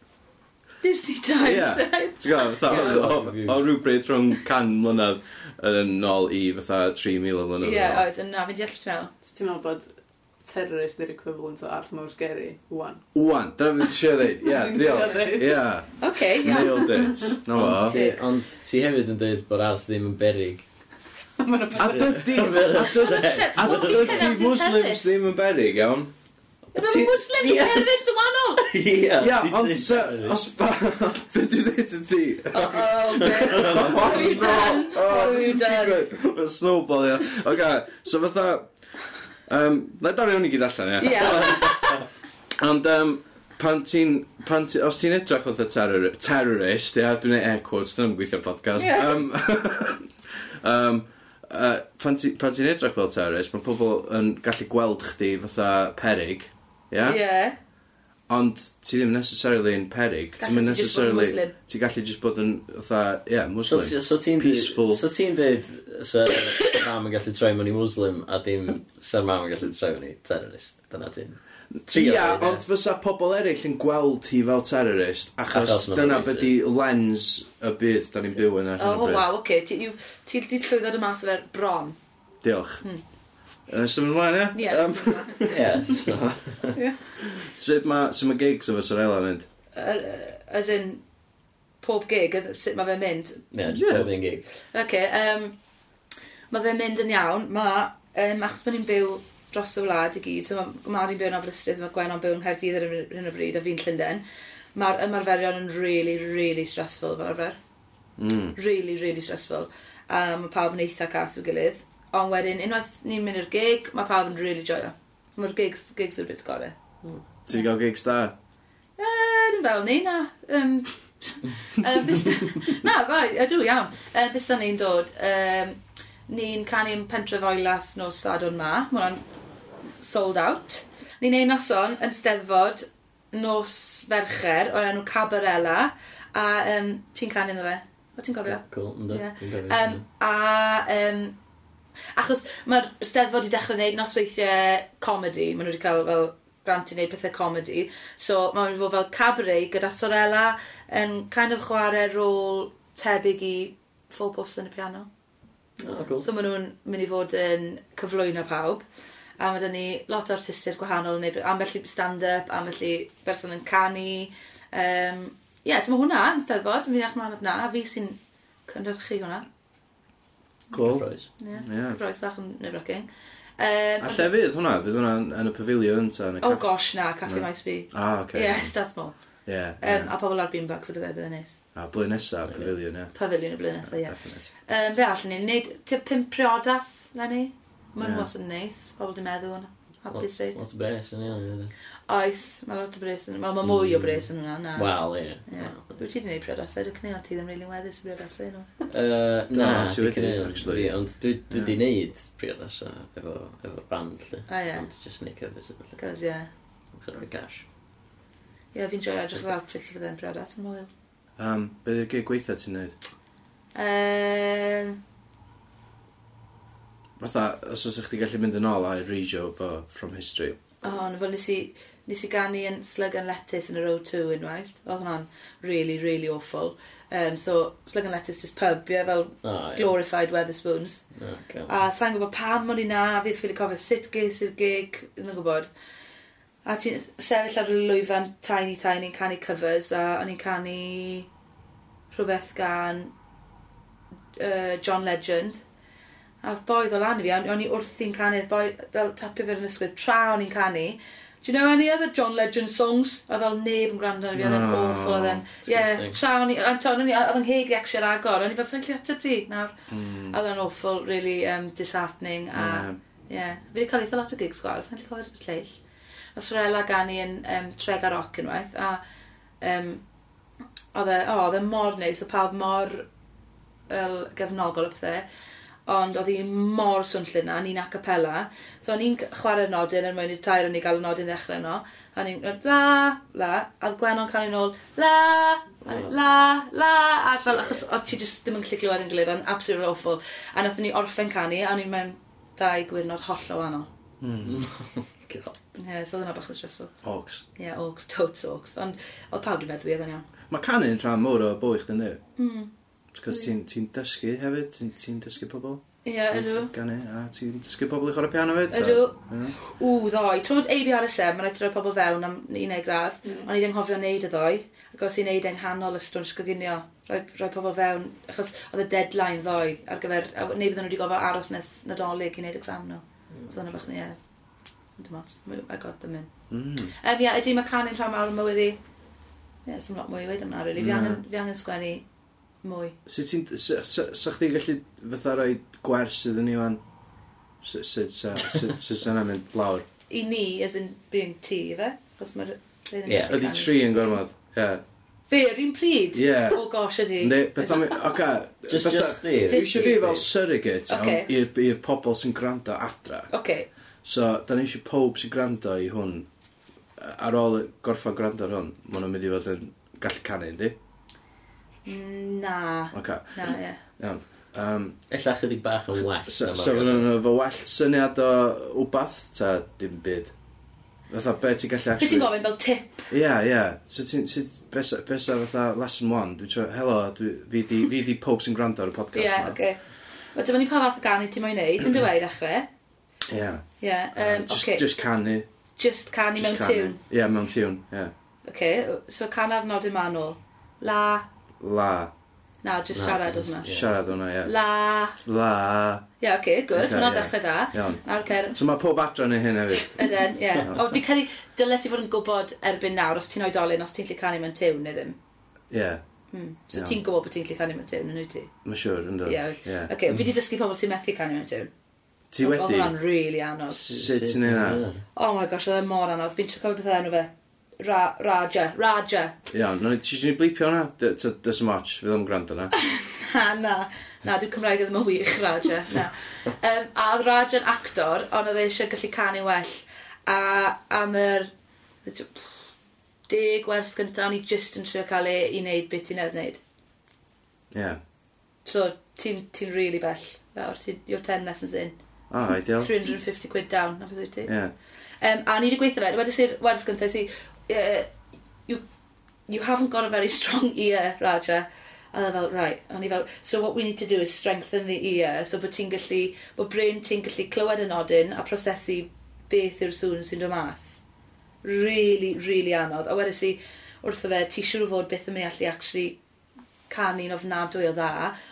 S4: Disney Times.
S1: Ie.
S4: right?
S1: Ti'n gwybod,
S2: Ie.
S1: fatha, o- o- o rhywbryd rhwng can mlynedd yn nôl i fatha 3,000 o mlynedd.
S4: Ie,
S1: yn ôl.
S4: oedd yn na, fi'n deall beth ti'n meddwl.
S3: So ti'n meddwl bod terrorist yr equivalent o arth mawr sgeri, wwan.
S1: Wan, dyna fi eisiau dweud. Ie,
S3: Ti'n
S1: diolch.
S3: trio ddeud.
S1: Ie,
S4: Oce, iawn.
S1: nailed it. No
S2: Ond
S1: fo.
S2: ti- Ond ti hefyd yn dweud bod Arth ddim yn berig.
S3: Mae'n
S1: A dydy, a dydy, a dydy Muslims ddim yn berig, iawn.
S4: Mae'n Muslim
S2: Ie.
S4: sy'n terrorist yn wahanol.
S2: Ie,
S1: Ia,
S2: ti
S1: ond
S2: ddim
S1: sa,
S2: berig.
S1: os ba, beth dwi'n dweud ydi?
S4: Oh, beth. What have you done? What have you done?
S1: Mae'n snowball, ia. Oga, so fatha... Um, na dorri hwn i gyd allan, ia.
S4: Ie.
S1: Ond um, pan ti'n... pan ti- Os ti'n edrych fatha terror, terrorist, ia, dwi'n ei air quotes, dwi'n gweithio'r podcast.
S4: Ie.
S1: Um, um, uh, pan ti- pan ti'n edrych fel terrorist, mae pobl yn gallu gweld chdi fatha perig, ia?
S4: Ie.
S1: Ond ti ddim necessarily yn perig.
S4: Gallu
S1: Ti'n mynd
S4: ti jyst bod yn
S1: necessarily...
S4: Muslim.
S1: Ti'n gallu just bod yn, fatha, ie,
S2: So
S1: Muslim.
S2: ti- so ti'n
S1: Peaceful.
S2: dweud... So ti'n dweud... So mam yn gallu troi mewn i Muslim a dim... So mam yn gallu troi mewn i terrorist. Dyna ti'n... trio
S1: Ia,
S2: ddeud, ie.
S1: ond fysa pobl eraill yn gweld hi fel terrorist, achos
S2: Achos ma'n
S1: dyna
S2: racist.
S1: beth i lens y byd da ni'n byw yn ar hyn o
S4: Oh,
S1: bryd.
S4: waw, oce. Ti you- ti 'di llwyddo dod mas o fer bron.
S1: Diolch. Yy, Symud ymlaen,
S4: Hmm. Ie.
S1: ie? Yym,
S2: Ie, so...
S1: Sut mae sut ma gigs efo Sorella yn mynd?
S4: Yr- yy, As in, pob gig, as- sut mae fe'n mynd.
S2: Ie,
S1: Ie.
S2: just bob un gig.
S4: Oce, um, mae fe'n mynd yn iawn. Mae, um, achos bod ni'n byw dros y wlad i gyd, so mae Mari'n byw yn Aberystwyth, mae Gwen o'n byw yng Nghaerdydd ar yr- hyn o bryd, a fi'n Llundain, mae'r ymarferion yn really, really stressful fel arfer.
S1: Mm.
S4: really, really stressful. A mae pawb yn eitha cas i'w gilydd. Ond wedyn, unwaith ni'n mynd i'r gig, mae pawb yn really joio. Mae'r gigs, gigs yn bit gore.
S1: Ti 'di gael gigs da?
S4: Yy, dim fel ni, na. Um, uh, na, fa, ydw, iawn. Uh, bys da ni'n dod, um, ni'n canu'n pentre foelas nos sadwn ma. Mae hwnna'n sold out. Ni'n ei noson yn steddfod nos fercher o'r enw Cabarella. A um, ti'n canu ynddo fe? O ti'n gofio?
S2: Cool, ynddo.
S4: Ie.
S2: Dwi'n gofio.
S4: Um, a, um, achos mae'r steddfod wedi dechrau gwneud nosweithiau comedy, maen nhw wedi cael fel grant i wneud pethau comedy, so mae'n mynd i fod fel cabaret gyda Sorella yn kind of chwarae rôl tebyg i Four Puffs yn y piano.
S2: O, cool.
S4: So maen nhw'n mynd i fod yn cyflwyno pawb. A mae da ni lot o artistiaid gwahanol yn neud ambell i stand-up, ambell i berson yn canu. Um, Ie, yeah, so mae hwnna yn steddfod, fi'n eich mlaen at na, a fi sy'n cynhyrchu hwnna.
S1: Cool.
S2: Cyffroes.
S4: Ie,
S1: Ie.
S4: Cyfroes bach yn nerfrocking. Um,
S1: A lle fydd hwnna? Fydd hwnna yn- yn y pavilion ta? yn y
S4: Oh
S1: caff-
S4: gosh, na, Caffi
S1: Na.
S4: Maes B.
S1: Ah,
S4: Ie,
S1: oce.
S4: that's more.
S1: Ie.
S4: Um,
S1: ie.
S4: a pobl ar beanbags ydw i bydd yn neis.
S1: A blwyddyn nesa, pavilion, ie.
S4: Pavilion y blynedd nesaf, ie.
S1: Definite.
S4: Um, be all ni'n neud, ti'n pimp priodas, Lenny? Mae'n
S1: Ie.
S4: yeah. yn neis, pobl di meddwl yn happy straight.
S2: Lot o bres yn iawn. ie.
S4: Oes, mae lot o bres yn... Wel, mae mwy o bres yn hwnna, na.
S2: Wel, ie.
S4: Ah. Ie.
S2: Wel.
S4: Wyt ti wedi gwneud priodasau, dwi'n cynnig ti ddim rili'n weddus y priodasau nhw.
S2: Yy, Na,
S1: ti
S2: di
S1: wedi,
S2: gwneud,
S1: actually.
S2: fi, Ond dwi dwi
S1: Ie.
S2: di neud priodas efo efo'r band, lle.
S4: A Ah, ie,
S2: Ond just neud covers efo, lle.
S4: cos ie.
S2: Chyfrwy gash.
S4: Ie, fi'n joio edrych ar outfits y bydde'n priodas, yn mwyl.
S1: Um, Be di'r gig gweitha ti'n neud?
S4: Um,
S1: Fatha, os oes chdi gallu mynd yn ôl a rejob o From History.
S4: Oh, no, fel nes i, nes i ganu yn Slug and Lettuce yn yr O2 unwaith. Oedd hwnna'n really, really awful. Um, so, Slug and Lettuce just pub, ie, fel
S2: O, ie.
S4: glorified Weatherspoons.
S2: O, cool.
S4: A sa'n gwybod pam o'n i na, fi ffili cofio sut ges i'r gig, ddim yn gwybod. A ti'n sefyll ar y lwyfan tiny tiny yn canu covers, a o'n i'n canu rhywbeth gan uh, John Legend. A oedd boi ddo lan i fi, a o'n i wrthi'n canu, oedd boi dal tapio fe'r ysgwydd, tra o'n i'n canu. Do you know any other John Legend songs? A ddol neb yn gwrando arno fi, oedd e'n
S1: Oh,
S4: awful, oedd e'n... Ie,
S2: disgusting.
S4: tra o'n i, a t'o', o'n i, oedd yn hegi ac eisiau'r agor, o'n i fel, sa'n gallu ateb ti nawr.
S1: Mm.
S4: A Oedd e'n awful, really um, disheartening. A,
S1: Ie.
S4: ie. Yeah. Fi wedi cael eitha lot o gigs gwael, sa'n gallu cofio'r lleill. Oedd Sorella ganu yn um, Treg a Roc unwaith, a um, Oedd e, o, oedd e mor neis, oedd pawb mor el, gefnogol o pethau. Ond oedd hi mor swnllun na, ni'n acapella. So o'n i'n c- chwarae'r nodyn er mwyn i'r tair o'n i gael y nodyn ddechrau no. A ni'n gwneud la, la, a oedd Gwenon cael ei nôl la, a ni, la, la. A fel, achos o ti jyst ddim yn gallu glywed yn gilydd, o'n absolutely awful. A nath ni orffen canu, a o'n i'n mewn dau gwirnod hollol wahanol.
S2: God.
S4: Ie, yeah, so oedd yna bach o stressful.
S1: Ogs.
S4: Ie, yeah, orcs, totes orcs. Ond oedd pawb wedi meddwl i oedd yn iawn. Hmm.
S1: Mae canu'n rhan mowr o bwy chdi'n di. Cos ti'n ti dysgu hefyd, ti'n ti dysgu pobl.
S4: Ie, yeah, ydw.
S1: Ganu, e. a ti'n dysgu pobl i chwarae piano hefyd. so-
S4: Ydw.
S1: Ie.
S4: Ww, ddoe. Twyd ABRSM, mae'n rhaid i roi pobl fewn am 11 gradd. Mm.
S3: Mm.
S4: Ond i anghofio wneud y ddoe. Ac os i'n neud yng nghanol y stwns goginio, rhoi, rhoi pobl fewn. Achos oedd y deadline ddoe ar gyfer... a Neu fydden nhw wedi gofio aros nes nadolig i wneud exam nhw. So dyna bach ni, ie. Dim ots. I got them in.
S1: Mm.
S4: Um, ie, ydy mae canu'n rhan mawr o mywyd i. Ie, yeah, lot mwy i weid am na, really. Fi
S1: Na.
S4: angen- fi angen sgwennu mwy.
S1: Sut ti'n... s- s- Sa chdi gallu fatha roi gwers iddyn ni fan? Sut sut sa... Sut sa na mynd lawr?
S4: I ni, as in being ti, fe? Achos mae'r... rhein yn
S2: Ie.
S4: gallu
S1: Ydi
S4: canu.
S1: tri yn gormod. Ie.
S4: Fe, yr un pryd?
S1: Ie.
S4: Oh gosh, ydi.
S1: Ne, beth am... Oca.
S2: Just, just chdi.
S1: Dwi eisiau fi fel surrogate iawn,
S4: Ocê.
S1: i'r i'r pobol sy'n gwrando adra.
S4: Okay.
S1: So, da ni eisiau pob sy'n gwrando i hwn, ar ôl gorffa gwrando ar hwn, maen nhw'n mynd i fod yn gallu canu, yndi?
S4: Na.
S1: Oca,
S4: Na, ie.
S1: iawn. Um,
S2: Ella chydig bach yn well.
S1: so,
S2: na
S1: so
S2: ma'r-
S1: fydden nhw'n efo well syniad o wbath, ta dim byd? Fatha, be ti'n gallu
S4: Be ti'n gofyn fel tip?
S1: Ie, ie. So ti'n... sut- be sa- Be sa fatha lesson one? Dwi'n siarad, helo, dwi- fi di, fi di pob sy'n gwrando ar y podcast
S4: Ie, yeah,
S1: yma."
S4: oce. Wel, dyma ni pa fath o ganu ti'n moyn neud, yn dweud ddechrau.
S1: Ie.
S4: Ie,
S1: Uh,
S4: um,
S1: just-
S4: oce.
S1: Just canu.
S4: Just canu
S1: just
S4: mewn
S1: canu.
S4: tiwn.
S1: Ie, mewn tiwn, ie.
S4: Oce, so can ar nod yma nôl. La.
S1: La.
S4: Na, just
S2: Na,
S4: siarad
S2: just-
S4: oedd yna.
S2: Ie.
S1: Siarad hwnna, ie.
S4: La.
S1: La.
S4: Ie, oce, good.
S1: Oce, ie.
S4: Hwna'n ddechrau da.
S1: Iawn.
S4: Ar cer,
S1: So mae pob adra yn hyn hefyd.
S4: yden, ie. Ond fi'n credu, dyle ti fod yn gwybod erbyn nawr os ti'n oedolyn, os ti'n lli canu mewn tiwn neu ddim.
S1: Ie. Yeah.
S4: Hmm. So
S1: Iawn.
S4: ti'n gwybod bod ti'n lli canu mewn tiwn, yn wyt ti?
S1: Mae siwr, ynddo.
S4: Ie.
S1: Ie.
S4: Oce, fi di dysgu pobl sy'n methu canu mewn tiwn.
S1: Ti
S4: Oedd
S1: wedi?
S4: hwnna'n rili anodd.
S1: Sut ti'n ei na?
S4: Oh my gosh, oedd e mor anodd. Fi'n trio cofio pethau enw fe. Ra, Raja, Raja.
S1: Iawn, no, ti eisiau ni blipio hwnna? D- t- Does ym watch, fydd o'n gwrando na.
S4: Ha, na. Na, dwi'n Cymraeg ddim yn wych, Raja. Na. Um, a oedd Raja'n actor, ond oedd e eisiau gallu canu well. A am yr... Deg wers gyntaf, o'n i jyst yn trio cael ei i wneud beth ti'n edrych.
S1: Ie.
S4: So, ti'n ti really bell. Nawr, ti'n... Your 10 lessons in.
S1: O, ideal.
S4: 350 quid down, na beth wyt ti?
S1: Ie.
S4: Um, a ni wedi gweithio fe, wedi sy'r wedys gyntaf, si, uh, you, you haven't got a very strong ear, Raja. A oedd e fel, right, o'n i fel, so what we need to do is strengthen the ear, so bod ti'n gallu, bod brain ti'n gallu clywed y nodyn a prosesu beth yw'r sŵn sy'n dod mas. Really, really anodd. A wedys i, wrtho fe, ti siŵr o fod beth yn mynd i allu actually canu'n ofnadwy o dda,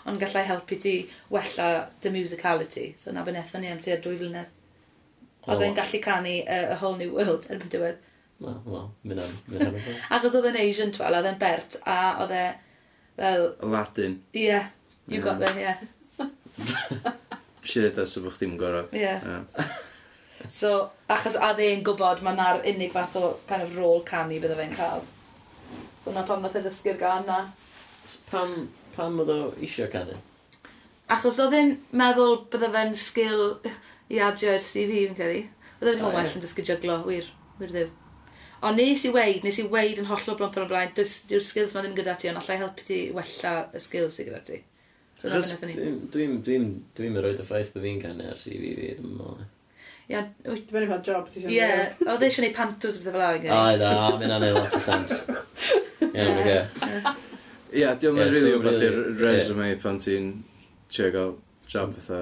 S4: ond gallai helpu ti wella dy musicality. So na beth nethon ni am tua dwy flynedd. Oedd e'n gallu canu uh, A Whole New World erbyn diwedd.
S2: Wel, wel, mynd am. mynd am y ffordd.
S4: Achos oedd e'n Asian twel, oedd e'n Bert, a oedd e fel,
S1: Aladdin.
S4: yeah, you
S2: Mm.
S4: got there, yeah,
S1: Shit, as y bych ddim gorau.
S4: yeah.
S1: Ie.
S4: So, achos a dde'n gwybod mae na'r unig fath o kind of rôl canu bydde fe'n cael. So na pan nath e ddysgu'r gan na.
S2: Pam, pam oedd o eisiau canu?
S4: Achos oedd e'n meddwl bydde fe'n sgil i adio i'r CV, fi'n credu. Bydde fe'n
S2: O, ie.
S4: oh, well yn dysgu jyglo, wir, wir ddim. Ond nes i weid, nes i weid yn hollol blomper o blaen, dys- dyw'r skills ma ddim gyda ti, ond allai helpu ti wella y skills sydd gyda ti. So na
S2: Achos
S4: fe wnaethon ni.
S2: Dwi'n dwi'n- dwi'n- dwi'n yr oed y ffaith bod fi'n canu ar CV fi, dwi'n meddwl.
S4: Ia,
S3: Dwi'n
S4: wyt-
S3: mynd i pa job ti
S4: ie, oedd e eisiau gwneud pantos o bethau fel ag e.
S2: O, da, mynd â'n ei lot o sens. Ie,
S4: Ie.
S2: oce.
S1: Ie, diolch
S2: Ie,
S1: yn
S2: so
S1: rili wbeth i'r
S2: really-
S1: resume pan ti'n trio gael job
S2: Mm.
S1: fatha.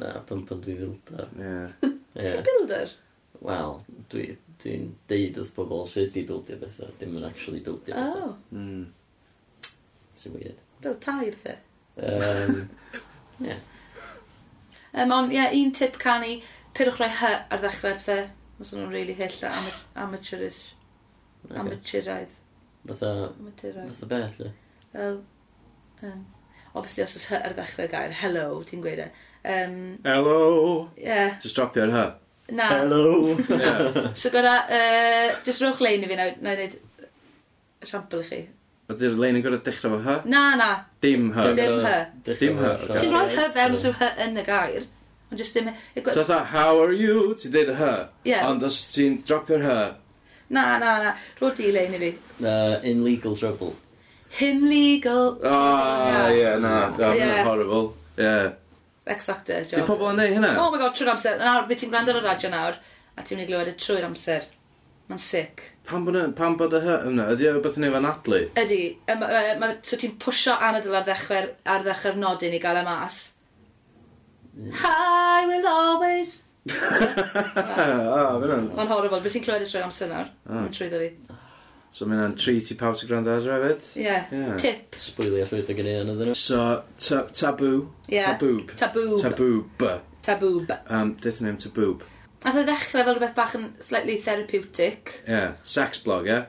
S2: Na, pan pan dwi'n fildar.
S1: Ie.
S4: Ti'n
S2: Ie.
S4: builder?
S2: Wel, dwi- dwi'n deud wrth bobl sut i bildio bethau, dim yn actually bildio
S4: O,
S2: bethau.
S1: Mm.
S4: Oh.
S2: Sy'n weird.
S4: build tai o bethau.
S2: Yym,
S4: Um, ond ie, un tip canu, pyrwch rhoi hy ar ddechrau pethau. Os nhw'n really hyll a ama- amateurish.
S2: oce.
S4: Amateuraidd.
S2: Fatha,
S4: Amateuraidd.
S2: fatha beth, le?
S4: Wel, um, obviously os oes hy ar ddechrau gair, hello, ti'n gweud e. Um,
S1: Helo!
S4: yeah,
S1: Just dropio ar hy.
S4: na.
S2: Hello!
S1: Ie.
S4: So gyda, uh, just rowch lein i fi na, na i wneud esiampl i chi.
S1: Ydy'r lein yn gorau dechrau fo H?
S4: Na, na.
S1: Dim H.
S4: Dim- her.
S1: Dim her,
S2: her,
S1: ocê.
S4: Ti'n rhoi
S2: her
S4: hyf enw sy'n hy yn y gair. Ond just dim... y gwe-
S1: So fatha, how are you? Ti'n deud y H.
S4: Ie.
S1: Ond os ti'n dropio'r H,
S4: Na, na, na. Rwy'n di lein i fi.
S2: Uh, in legal trouble.
S4: Hyn legal.
S1: o, ie, na, da,
S4: Ie.
S1: mae'n horrible. Ie.
S4: Ex-actor, John.
S1: Di pobl yn neud hynna?
S4: Oh my god, trwy'r amser. Nawr, beth ti'n gwrando ar y radio nawr, a ti'n mynd i glywed y trwy'r amser. Mae'n sick.
S1: Pam bod y- pam bod y H yna? Ydy o beth yn ei fan adlu?
S4: Ydy, yym, yy, ma- so ti'n pwysio anadl ar ddechrau'r ar ddechrau'r nodyn i gael y mas.
S1: Mm.
S4: I will always...
S1: Ah, fe hwnna'n-
S4: Mae'n horrible, beth ti'n clywed y trwy'r amser nawr?
S1: Ah.
S4: Mae'n trwyddo fi.
S1: So mae hwnna'n treat i pawb sy'n gwrando adra hefyd?
S4: Ie, yeah.
S1: Ie.
S4: tip.
S2: Sbwylio llwyth o gyda yn ydyn nhw.
S1: So, ta- taboo.
S4: Ie.
S1: Taboob.
S4: Taboob.
S1: Taboo. B.
S4: Taboob.
S1: Um, Dyth yn taboob.
S4: Nath o ddechrau fel rhywbeth bach yn slightly therapeutic.
S1: Ie. Sex blog, ie?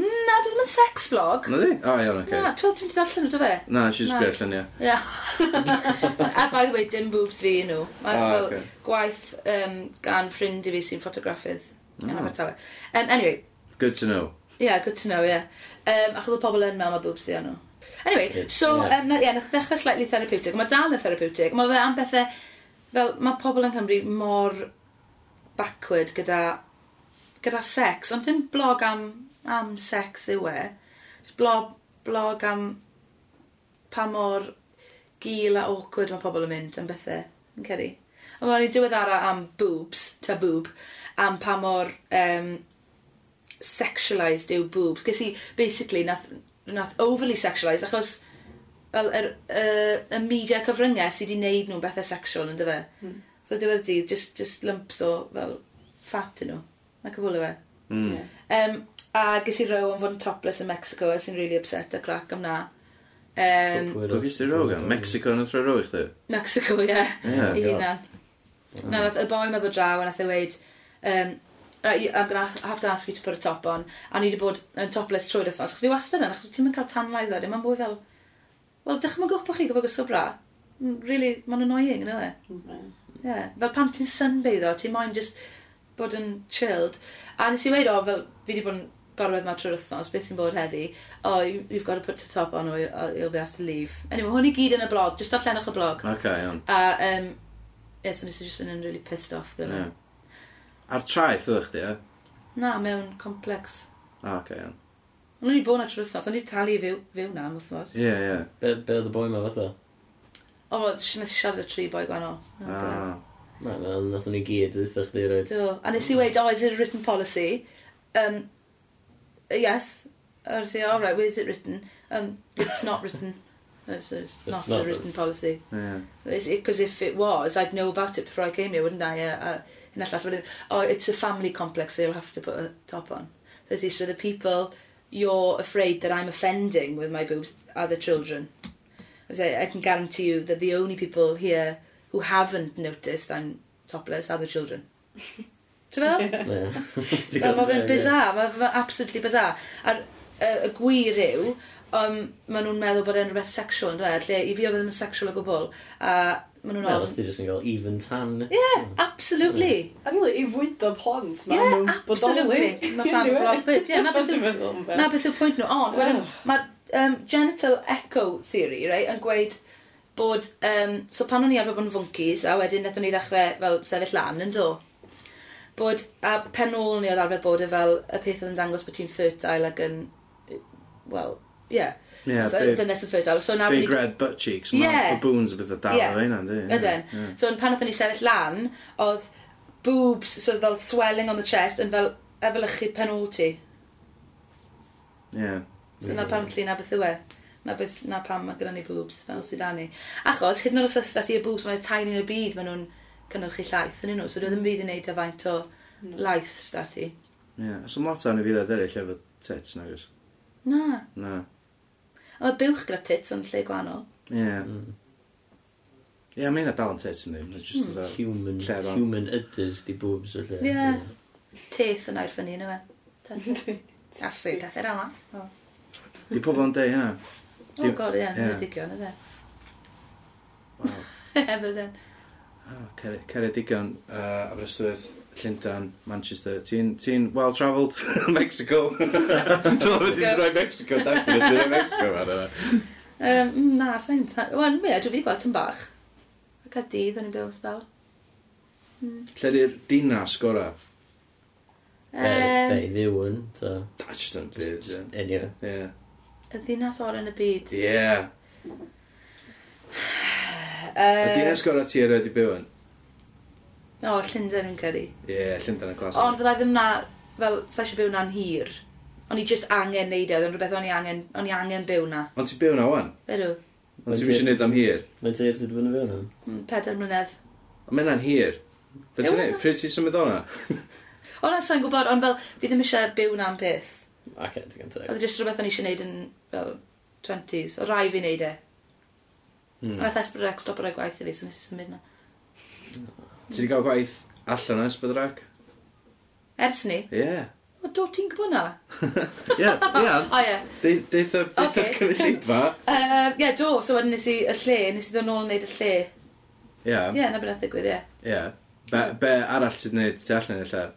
S4: Na, dwi'n mynd sex blog.
S1: Na di? O, iawn, oce.
S4: Na, twel ti'n mynd i darllen e? nhw, do fe?
S1: Na, nes i just
S4: Na.
S1: bryll yn ie.
S4: Ie. A by the way, dim boobs fi nhw. Mae
S1: Ah,
S4: fel
S1: ocê.
S4: gwaith um, gan ffrind i fi sy'n ffotograffydd. Yn Abertawe. Um, anyway,
S1: Good to know.
S4: yeah, good to know, yeah. Um, achos oedd pobl yn mewn mae boobs fi nhw. Anyway,
S2: Ie,
S4: so,
S2: ie.
S4: um, na, yeah, nath ddechrau slightly therapeutic. Mae dal yn therapeutic. Mae fe am bethau... Fel, mae pobl yn Cymru mor backward gyda, gyda sex. Ond dim blog am, am sex yw e. Jyst Blog, blog am pa mor gil a awkward mae pobl yn mynd am bethau. Yn cedi. A mae'n ei diweddara am boobs, ta boob, am pa mor um, sexualised yw boobs. Ges i, basically, nath, nath overly sexualised, achos fel yr uh, y media cyfryngau sydd wedi wneud nhw'n bethau sexual yn dyfa. Mm. So diwedd dydd, just, just lumps o fel fat yn nhw. Mae cyfwlio fe.
S1: Mm.
S3: Ie.
S4: Um, e. a ges i row am fod yn topless yn Mexico, a sy'n really upset a crack am na. Um,
S1: Pwy gysdi rog am? Mexico yn athro rog, chdi?
S4: Mexico, ie. Yeah.
S1: Ie.
S4: I
S2: God.
S4: hunan. Na, nath y boi ma ddod draw a nath e weid, um, right, you- I'm gonna have- have to ask you to put a top on. A ni wedi bod yn topless trwy'r wythnos, achos fi wastad yn, achos ti'm yn cael tanlais ar mae'n bwy fel, wel, dychmygwch bod chi gyfo gysio bra. Mm, Really, mae'n annoying, yn e? Yeah. Fel pan ti'n sunbatho, ti moyn just bod yn chilled. A nes i weid o, fel, fi wedi bod yn gorwedd ma trwy'r wythnos, beth sy'n bod heddi, oh, you- you've got to put a top on or you'll you'll be asked to leave. Anyway, ma' hwn i gyd yn y blog, just allanwch y blog.
S1: Ok, iawn.
S4: A, um, yeah, so nes i just yn really pissed off gyda.
S1: Ie.
S4: Yeah.
S1: Ar traeth ydych chdi, ie?
S4: Na, mewn complex.
S1: O, ok, iawn.
S4: Ond o'n i bod na trwy'r wythnos, o'n i talu i fyw, fyw na am wythnos.
S1: Ie, ie.
S2: Be be oedd y boi ma fatha?
S4: O, wel, nes i siarad y tri boi gwahanol.
S1: Ah.
S2: Na, na, nath ni gyd, ddeitha chdi roed.
S4: Do. A nes i weid, oh, is it a written policy? Um, yes. A nes i, all right, where is it written? Um, it's not written. It's, it's,
S2: It's
S4: not,
S2: not
S4: a
S2: written.
S4: written policy.
S1: Ie.
S4: Because if it was, I'd know about it before I came here, wouldn't I? Uh, uh, and that's what it, oh, it's a family complex, so you'll have to put a top on. So, it's- so the people you're afraid that I'm offending with my boobs are the children. I say, I can guarantee you that the only people here who haven't noticed I'm topless are the children. Ti'n meddwl? Fel mae fe'n bizar, mae fe'n absolutely bizar. A'r y- y gwir yw, um, maen nhw'n meddwl bod e'n rhywbeth sexual, yn dweud, lle i fi oedd e ddim yn sexual o gwbl, a maen nhw'n
S2: Na,
S4: ofn.
S2: nath ni jyst yn cael even tan.
S4: Yeah, absolutely.
S3: A rili, i fwydo plant
S4: Ie,
S3: mae nhw'n bodoli. e?
S4: absolutely. Mae plant broffyd, ie, na beth yw- Na
S3: beth
S4: beth yw'r pwynt nhw, ond wedyn,
S3: Oh.
S4: mae um, genital echo theory, right, yn gweud bod, um, so pan o'n i arfer bod yn fwncis, a wedyn nethon ni ddechrau fel sefyll lan yn do, bod, a pen ôl ni oedd arfer bod y fel, y peth oedd yn dangos bod ti'n fertile ac yn, well, yeah,
S1: Ie,
S4: fel
S1: big-
S4: ddynes yn fertile. So nawr
S1: big
S4: ni...
S1: red butt cheeks.
S4: Ie.
S1: Mae baboons a beth o dal
S4: Ie.
S1: o hynna, yndi? Ie,
S4: Ydyn.
S1: ie.
S4: So pan oedd ni sefyll lan, oedd boobs, so fel swelling on the chest, yn fel efelychu pen ôl ti.
S1: Ie.
S4: So na pam llun a beth yw e. Na, beth, na pam mae gyda ni boobs fel sydd â ni. Achos, hyd yn oed os oes dati y boobs mae tiny yn y byd, maen nhw'n cynnyrchu llaeth yn nhw. So dwi ddim byd yn neud y faint o
S1: Mm.
S4: laeth dati.
S1: Ie. Os ym lot o'n y filoedd eraill efo tits, nagos?
S4: Na.
S1: Na.
S4: A mae buwch gyda tits yn lle gwahanol.
S1: Ie.
S2: Mm.
S1: Ie, mae hynna dal yn tits, yndi? Mae'n just o dda-
S2: Human,
S1: Lle fan.
S2: human udders di boobs o lle.
S4: Ie. Teth yn air ffynnu, yna fe. Asu, pethau rhan yma.
S1: Di pobl yn deud hynna?
S4: O,
S1: Di-
S4: Oh, god, ie.
S1: ie.
S4: Mae'n digon, yna.
S1: Wow.
S4: Hefyd, ie.
S1: Ah, Cer- Ceredigion, uh, Aberystwyth, Llundain, Manchester. Ti'n ti well-travelled? Mexico. Dwi'n wedi rhoi Mexico, definitely. Dwi'n rhoi Mexico, man. yna.
S4: Um, na, sa'n... sa- Wel, mi, a dwi wedi gweld tyn bach. Ac a dydd, o'n i'n byw am sbel.
S1: Lle di'r dinas gora?
S2: Da
S4: Um,
S2: i ddiw yn, so...
S1: That's just yn byd.
S2: Just- Anyway.
S1: ie. Ie.
S4: y ddinas o'r yn y byd.
S1: Ie. Y dinas gora ti erioed i byw yn?
S4: O, Llundain yn credu.
S1: Ie, Llundain yn glas.
S4: Ond fydda i ddim na, fel, sa eisiau byw na'n hir. O'n i just angen neud e, oedd yn rhywbeth o'n i angen, o'n i angen byw na.
S1: Ond ti'n byw na wan?
S4: Fydw,
S1: Ond ti'n eisiau neud am hir?
S2: Mae'n teir ti wedi bod yn fyw hwn?
S4: mm, pedair mlynedd.
S1: Ond mae hynna'n hir. Da ti'n
S4: Ie,
S1: neud?
S4: wel.
S1: Pryd ti'n symud o'na?
S4: O, na, sa'n gwybod, ond fel, fi ddim eisiau byw na'n peth.
S2: Ac edrych yn teg.
S4: Oedd e just rhywbeth o'n i eisiau neud yn, fel, 20s. O rai fi neud e. Mm. Nath Esbrydex stop ar y gwaith i fi, so nes i symud na.
S1: Ti wedi cael gwaith allan o Ysbydrac?
S4: Ers ni,
S1: Ie.
S4: o, do ti'n gwybod na?
S1: Ie, t- ie.
S4: O, ie.
S1: De- Deitha deitha
S4: Oce.
S1: cymrydfa.
S4: Yym, Ie, do, so wedyn nes i y lle, nes i ddod nôl neud y lle.
S1: Ie,
S4: Ie, na beth digwydd, ie.
S1: ie. Be be arall ti'n neud ti allan i'r lle?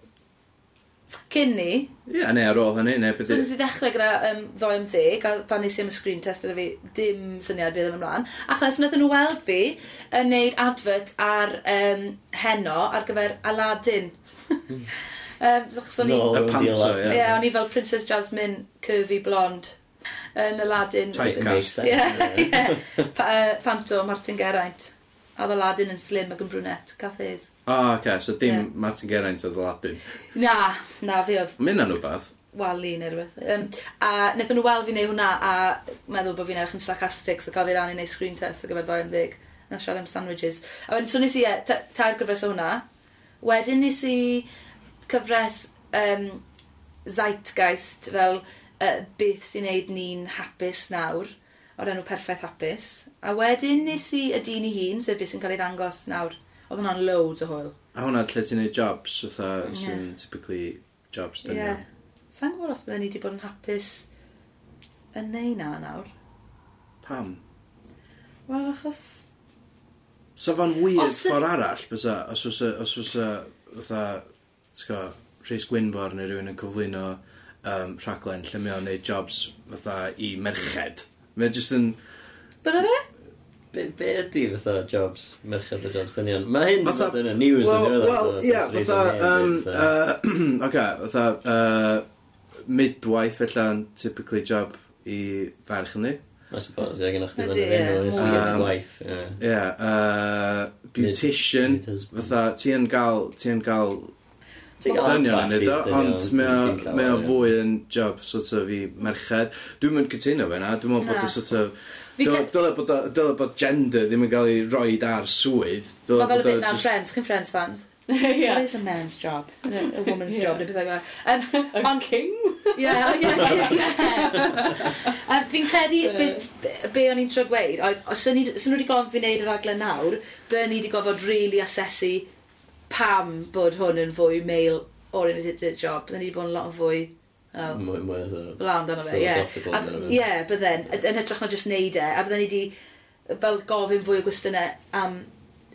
S4: Cyn ni,
S1: Ie, neu ar ôl hynny, neu
S4: So
S1: beth
S4: nes i ddechrau gyda um, ddoe am ddeg, a pan nes i am y screen test gyda fi dim syniad bydd yn ymlaen. Achos wnaethon nhw weld fi yn neud advert ar um, heno ar gyfer Aladdin. um, achos o'n i...
S1: Y panto,
S4: Ie,
S1: ie.
S4: yeah, o'n i fel Princess Jasmine, curvy blonde, yn Aladdin.
S1: Type.
S2: eh?
S4: Ie, ie. Pa- yy, Panto, Martin Geraint. A oedd Aladdin yn slim ac yn brunette, cafes.
S1: O, oce, so
S4: Ie.
S1: dim Martin Geraint oedd y ladyn.
S4: Na, na fi oedd
S1: Mynd na rhywbeth.
S4: wali neu rhywbeth. Um, a wnaethon nhw weld fi neu hwnna a meddwl bod fi'n edrych yn sarcastic so cael fi rannu neu screen test ar gyfer 20 a siarad am sandwiches. A wedyn, so nes i, ie, ta- tair gyfres o hwnna. Wedyn nes i cyfres um, zeitgeist fel uh, beth sy'n neud ni'n hapus nawr o'r enw perffaith hapus. A wedyn nes i y dyn i hun, sef beth sy'n cael ei ddangos nawr. Oedd hwnna'n loads o hwyl.
S1: A hwnna lle ti'n neud jobs, fatha,
S4: Ie.
S1: sy'n typically jobs dyn nhw.
S4: Ie. Sa'n gwybod os bydden ni wedi bod yn hapus yn neu na nawr?
S1: Pam?
S4: Wel, achos...
S1: So fo'n weird
S4: Os yd-
S1: ffordd arall, bysa, os fysa, os fysa, fatha, ti'n go, Rhys Gwynfor neu rhywun yn cyflwyno um, rhaglen lle mae o'n neud jobs fatha i merched. Mae jyst yn...
S4: Bydde fe?
S2: Be, be ydi fatha jobs, merched o jobs dynion? Mae hyn wedi
S1: Fatha-
S2: bod yn y news yn
S1: Wel,
S2: ddiweddar.
S1: wel,
S2: so
S1: ie,
S2: that's reason
S1: fatha,
S2: why
S1: yym,
S2: it's, uh,
S1: yy, oce, fatha, yy, midwife allan, typically job i ferch yndi.
S2: I suppose, ie, gynnwch chi
S4: Ydi,
S2: fan yn
S4: ie,
S2: enw,
S4: mwy.
S2: weird
S1: Yym,
S2: gwaith. ie.
S1: Ie, yeah, uh, beautician,
S2: Mid- mid-husband.
S1: fatha, ti yn gael, ti yn gael
S2: Ti'n cael
S1: dynion yn
S2: ambell i
S1: neud o,
S2: dynion,
S1: ond
S2: ti'n- ti'n
S1: mae o-
S2: cael
S1: mae o
S2: arian.
S1: fwy yn job sort of i merched. Dwi'n mynd cytuno fe na, dwi'n meddwl bod
S4: Na.
S1: y sort of...
S4: Fi
S1: Dyle
S4: cyn-
S1: dyle bod o- dyle bod gender ddim yn cael ei roi ar swydd. Dyle
S4: Mae fel y
S1: bod o
S4: bit na'n
S1: jyst-
S4: Friends, chi'n Friends fans?
S3: Ie.
S4: What is a man's job? And A a woman's
S3: Ie.
S4: job, neu bethau fel. Yym,
S3: On king?
S4: Ie, o, ie, ie, ie. Yym, Fi'n credu beth- be- be o'n i'n trio gweud, oedd os o'n i os o'n nhw wedi gofyn fi wneud y raglen nawr, bydden ni wedi gofod really asesu pam bod hwn yn fwy male-oriented job. Bydden ni wedi bod yn lot yn fwy... wel,
S2: Mwy, mwy o
S4: Bla amdano fe, ie.
S2: Mm. Philosophical
S4: A-
S2: amdano fe.
S4: Oh, Ie, bydden, y- yn hytrach na jyst neud e, a bydden ni di fel gofyn fwy o gwestiynau am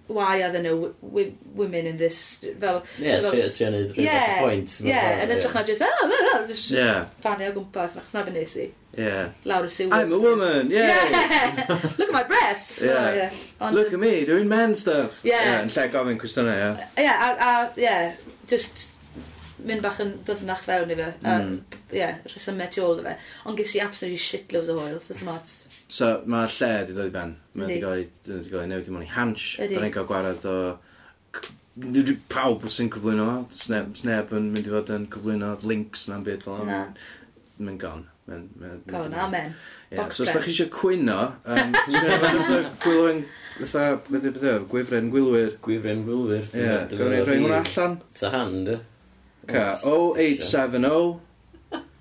S4: why are there no wi- women in this, fel...
S2: Ie,
S4: so fel-
S2: tri- trio neud rhywbeth
S4: Ie,
S2: o point. mewn
S4: Ie,
S2: ffordd,
S4: yn hytrach na jyst, oh, no, no, jyst
S1: Ie,
S4: fannu o gwmpas, achos na beth nes i,
S1: ie.
S4: lawr y sewers.
S1: I'm a woman, yay!
S4: Yeah! Look at my breasts!
S1: Ie.
S4: Oh, ie. Ond-
S1: Look at me, doing man stuff.
S4: Ie.
S1: Ie, Yn lle gofyn cwestiynau, ie.
S4: Ie, a, a, ie, just mynd bach yn ddyfnach fewn i fe, a,
S1: Mm.
S4: ie, rhesymau tu ôl i fe. Ond ges i absolutely shitloads o hwyl, so smarts.
S1: So, mae lle wedi dod i ben. Mae wedi
S4: Yndi.
S1: cael ei mae 'di cael ei newid i mewn i hansh.
S4: Ydi.
S1: Da ni'n cael gwared o... c- nid yw Pawb sy'n cyflwyno fo. Sneb, sneb yn mynd i fod yn cyflwyno links na'n byd fel yna.
S4: Na.
S1: Mae'n gone. Mae'n- mae'n-
S4: Con,
S1: mae'n-
S4: amen.
S1: Ie,
S4: Box
S1: So os da chi
S4: bench.
S1: eisiau cwyno, um, gwylwyn, fatha, beth yw beth yw, gwifren gwylwyr.
S2: Gwifren gwylwyr.
S1: Ie, gawr ni'n rhoi hwnna allan.
S2: Ta hand, ie.
S1: Ca, 0870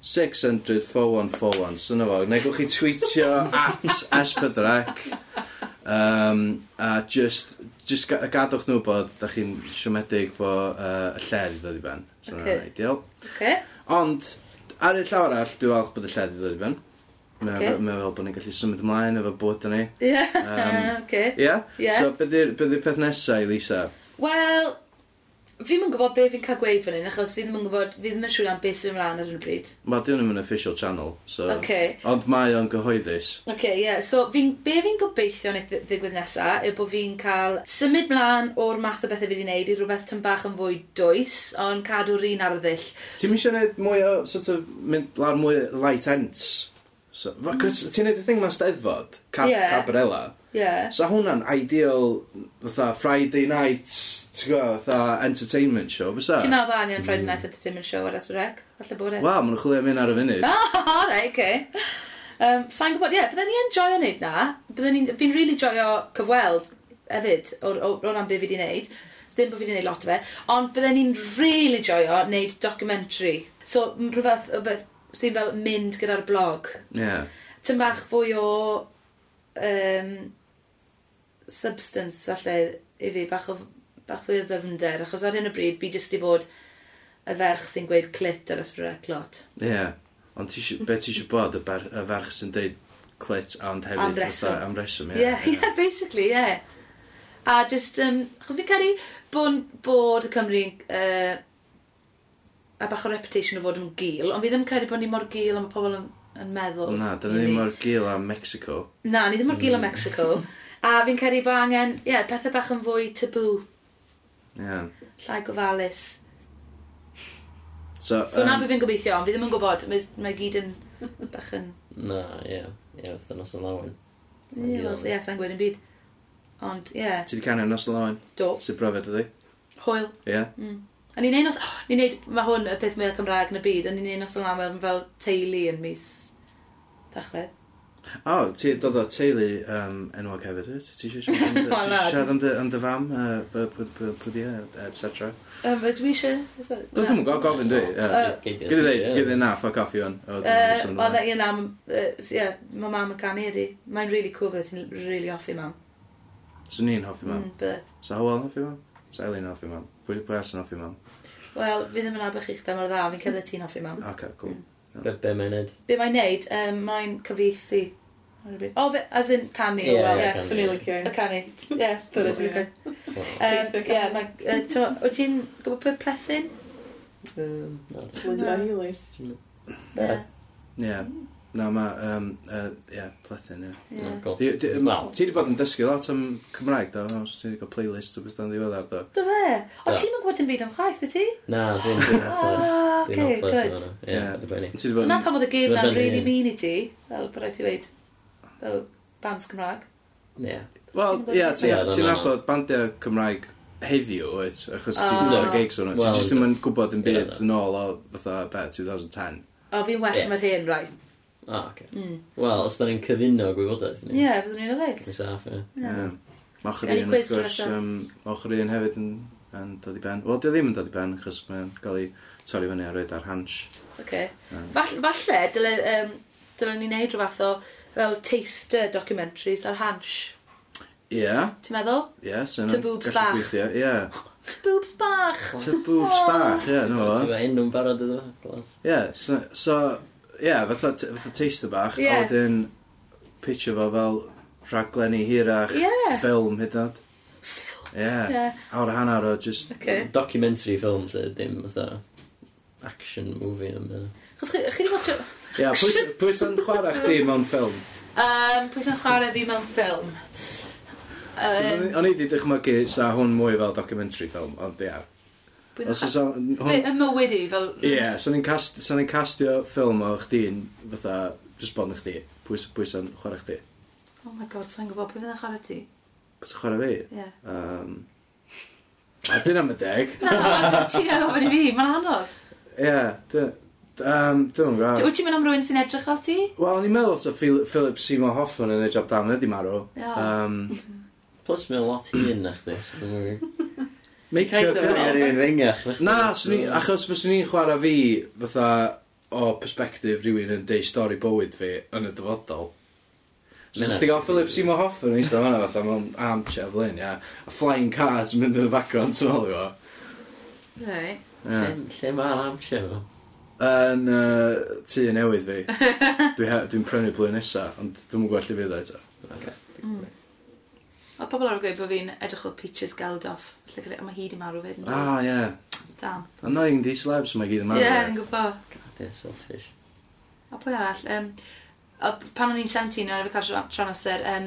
S1: 600 4141. Syna fo, neu gwch chi tweetio at espedrac. Um, a just, just ga- gadwch nhw bod da chi'n siomedig bod uh, y lle wedi dod i ben. So
S4: Ocê.
S1: okay. ideal.
S4: Oce.
S1: Ond, ar y llaw arall, dwi'n falch bod y lle wedi dod i ben. Mae
S4: Ocê.
S1: okay. fel bod ni'n gallu symud ymlaen efo bod ni.
S4: Ie,
S1: Yym,
S4: oce.
S1: Ie?
S4: Ie.
S1: So, beth yw'r beth yw peth nesaf i Lisa?
S4: Wel, Fi'n yn gwybod be fi'n cael gweud fan hyn, achos fi ddim yn gwybod, fi ddim yn siŵr am beth sy'n ymlaen ar yn y bryd.
S1: Mae dyn nhw'n official channel, so...
S4: Oce.
S1: Ond mae o'n gyhoeddus.
S4: Oce, okay, ie. Yeah. So, fi, be fi'n gobeithio wneud ddi- ddigwydd nesaf yw bod fi'n cael symud mlaen o'r math o bethau fi wedi wneud i rhywbeth tyn bach yn fwy dwys, ond cadw'r un ar y ddill.
S1: Ti'n mysio gwneud mwy o, sort of, mynd lawr mwy light ends? So, fa- 'cos ti'n gwneud y thing ma'n steddfod, cab,
S4: Ie.
S1: cabarella.
S4: Ie. Yeah.
S1: So hwnna'n ideal, fatha, Friday night, ti'n gwybod, fatha, entertainment show, bysa?
S4: Ti'n meddwl bod angen Friday Night Entertainment Show ar Esbrec? Falle bod e.
S1: Wel, maen nhw'n chwilio am un ar y funud.
S4: Ah, right, okay. Um, Sa'n gwybod, ie, yeah, bydden ni yn joio wneud na. Bydden ni, fi'n rili really joio cyfweld hefyd o, o, o ran beth fi wedi wneud. Ddim bod fi wedi wneud lot o fe. Ond bydden ni'n rili really joio wneud documentary. So, m- rhywbeth o beth sy'n fel mynd gyda'r blog.
S1: Ie.
S4: Tyn bach fwy o um, substance, falle, i fi, bach, o, bach fwy o dyfnder. Achos ar hyn o bryd, fi jyst wedi bod y ferch sy'n gweud clit ar ysbryd lot.
S1: Ie. Ond ti isio- be ti eisiau bod, y, ber, y ferch sy'n deud clit, ond hefyd...
S4: Am reswm.
S1: fatha, Am reswm, ie.
S4: yeah, yeah, basically, yeah. A just, um, achos fi'n caru bod, bod y Cymru uh, a bach o reputation o fod yn gil, ond fi ddim yn credu bod ni mor gil am y pobl yn, yn meddwl.
S1: Na, dyna ni mor Mm. gil am Mexico.
S4: Na, ni ddim mor gil o Mexico. a fi'n credu bod angen, ie, yeah, pethau bach yn fwy tabw,
S1: Ie.
S4: llai gofalus.
S1: So,
S4: So um, na
S1: yym,
S4: beth fi'n gobeithio, ond fi ddim yn gwybod, mae, mae gyd yn bach yn...
S2: Na, ie. Ie, wythnos yn lawn.
S4: Ie, wel, ie, sa'n gweud yn byd. Ond, ie, yeah,
S1: Ti wedi canu Nos Lawn?
S4: do,
S1: Sy'n brofiad ydi?
S4: hwyl.
S1: Ie.
S4: A ni'n neud nos... Oh, ni'n neud... Mae hwn y peth mwyaf Cymraeg yn y byd, a ni'n neud nos yn lawer yn fel teulu yn mis... Dachwedd.
S1: O, ti wedi dod o teulu um, enwog hefyd, wyt? Ti eisiau siarad am dy- ti
S4: Wel, na,
S1: isio siarad
S4: dwi-
S1: am dy, am dy fam, yy, b- b- b- pwdiau, etc.
S4: Um, ydw i eisiau...
S1: Wel, dwi'n gwybod gofyn dwi.
S4: Yy,
S1: Gyd i ddeud, gyd i ddeud na, ffoc off i hwn. O, dwi'n gwbod sôn
S4: Oedd
S1: hwnna.
S4: e un am... yy, Ie, mae mam yn canu ydi. Mae'n really cool bydde ti'n really hoffi mam.
S1: So ni'n hoffi mam.
S4: Mm, bydde.
S1: So Howell yn hoffi mam? So Eileen yn hoffi mam? Pwy pwy arall yn hoffi mam?
S4: Wel, fi ddim yn abych chi'ch da mor dda, fi'n cefnod ti'n hoffi mam.
S1: Ok, cool.
S2: Be, be mae'n neud?
S4: Be mae'n neud, um, mae'n cyfieithu. O, fe- as in canu.
S2: Ie,
S4: wel,
S2: ie,
S4: ie.
S2: canu.
S3: Swn i'n licio.
S4: Y canu. Ie,
S3: Dyna dwi'n
S4: dyna ti'n
S3: licio.
S4: gwybod. Ie, mae... yy, t'mo', Wyt ti'n gwybod pwy plethyn?
S3: Linda Healy.
S2: Ie.
S1: Ie. Na, mae, um, uh, ie, pletyn, ie.
S4: Ie.
S1: Ti
S2: Wel.
S1: wedi bod yn dysgu lot am Cymraeg, do? Os Ti wedi cael playlist o beth yn ddiweddar, do?
S4: Do fe? O,
S2: Do.
S4: ti'n yn gwybod yn byd am chwaith, wyt ti?
S2: Na, dwi'n dwi'n hopeless.
S4: Ah,
S2: Dwi'n
S4: okay,
S2: hopeless
S4: good.
S2: efo hwnna. Ie,
S1: Ie.
S2: dwi'n benni.
S1: Ti wedi
S4: So
S1: bod
S4: na
S1: yn...
S4: pan oedd y gêm
S2: Ti'n
S4: na'n
S2: benni,
S4: really
S2: ie.
S4: mean i ti, fel bod rhaid ti weid, fel bands Cymraeg.
S2: Ie.
S1: Wel,
S3: Ti'n bod
S1: ie,
S3: yn-
S2: Ie,
S1: ti'n
S2: na,
S1: ti'n
S2: na, na.
S1: nabod bandiau Cymraeg heddiw, oed, achos
S4: Ah.
S1: ti'n dod o gigs o'n ti
S2: Wel,
S1: jyst ddim yn gwybod yn
S2: Ie,
S1: byd
S2: na.
S1: yn ôl o fatha, be, 2010.
S4: O, fi'n well
S2: Ie.
S4: yeah. mae'r hen rai.
S2: Ah, oce.
S4: Mm.
S2: Wel, os da ni'n cyfuno gwybodaeth
S4: Ie,
S2: ni.
S4: yeah, fyddwn ni'n rhaid.
S2: Dwi'n saff, ie.
S1: Ie. Mae ochr
S4: Gawn ni
S1: un,
S4: quiz
S1: wrth gwrs,
S4: tro nesa.
S1: yym, ma' ochr un hefyd yn, yn dod i ben. Wel, dio ddim yn dod i ben, achos mae'n cael ei torri fyny a roed ar hans.
S4: Okay.
S1: Mm.
S4: Fall- Falle, dyle, um, dylen ni wneud rhywbeth o fel taster documentaries ar hansh.
S1: Ie,
S4: Ti'n meddwl?
S1: ie, sy'n...
S4: To boobs bach.
S1: Ie,
S4: Boobs bach!
S1: to boobs
S4: Oh.
S1: bach, ie,
S2: Ti'n
S1: nhw.
S2: gwbod enw'n barod iddo fo? Glas.
S1: Ie, so, so ie, fatha, t- fatha taster bach,
S4: Ie.
S1: a wedyn pitio fo fel rhaglenni hirach,
S4: Ie.
S1: ffilm hyd yn oed. Ie, Mm.
S4: Ie,
S1: awr a hanner o just,
S4: okay.
S2: Documentary film, lle dim, fatha, action movie. neu beth.
S4: Chos chi, chi di watcho...
S1: ie, pwy s- pwy sy'n chwarae chdi mewn ffilm?
S4: Um, pwy sy'n chwarae fi mewn ffilm?
S1: Achos
S4: Um,
S1: o'n i- O'n i wedi dychmygu sa hwn mwy fel documentary film, ond ie.
S4: pwy
S1: Os
S4: sy'n
S1: oes o'n...
S4: Be,
S1: hwn-
S4: y mywyd i, fel...
S1: Ie, so ni'n cast- so ni'n castio ffilm o chdi'n fatha, just bod yn chdi, pwy s- pwy sy'n chwarae chdi?
S4: Oh my god, sa'n gwybod pwy fydd yn chwarae ti?
S1: Pwy sy'n chwarae fi?
S4: Ie.
S1: Um, a dyna mae deg.
S4: Na, ti'n gofyn i fi, mae'n anodd.
S1: Ie, dy- yym, dwi'm yn gwbod.
S4: Wyt ti'n mynd am rhywun sy'n edrych fel ti?
S1: Wel, ni'n meddwl sa Phil Philip Seymour Hoffman yn ei job dan ydi marw.
S4: Ie.
S1: Um,
S2: Plus mae'n lot hyn na chdi, so dwi'n mwyn...
S1: make
S2: Caid
S1: up-
S2: o fyny ar un fengach.
S1: Na, swn i- achos fyswn i'n chwarae fi fatha o perspektif rhywun yn deud stori bywyd fi yn y dyfodol. So
S2: Mae hynna-
S1: ti'n gael Philip Seymour Hoffman yn eistedd fanna fatha mewn armchair flyn, ia. A flying cars yn mynd yn y background sy'n ôl i fo.
S4: Right.
S1: Ie.
S2: Lle mae'r amser fo?
S1: Yn yy, tŷ newydd fi. Dwi he- Dwi'n prynu blwyddyn nesa, ond dwi'n gwybod lle fydd o eto.
S4: O, Mae pobl ar y gweud bod fi'n edrych o Peaches Geldof. Llygrau, a mae hi di marw fyd. ynddo?
S1: Ah, ie.
S4: Damn.
S1: Annoying di slabs mae gyd yn
S4: Ie,
S1: marw.
S4: yeah, fi'n gwybod.
S2: Dwi'n selfish.
S4: A pwy arall? Um, o, pan o'n i'n 17, o'n i'n cael tra- tron amser, um,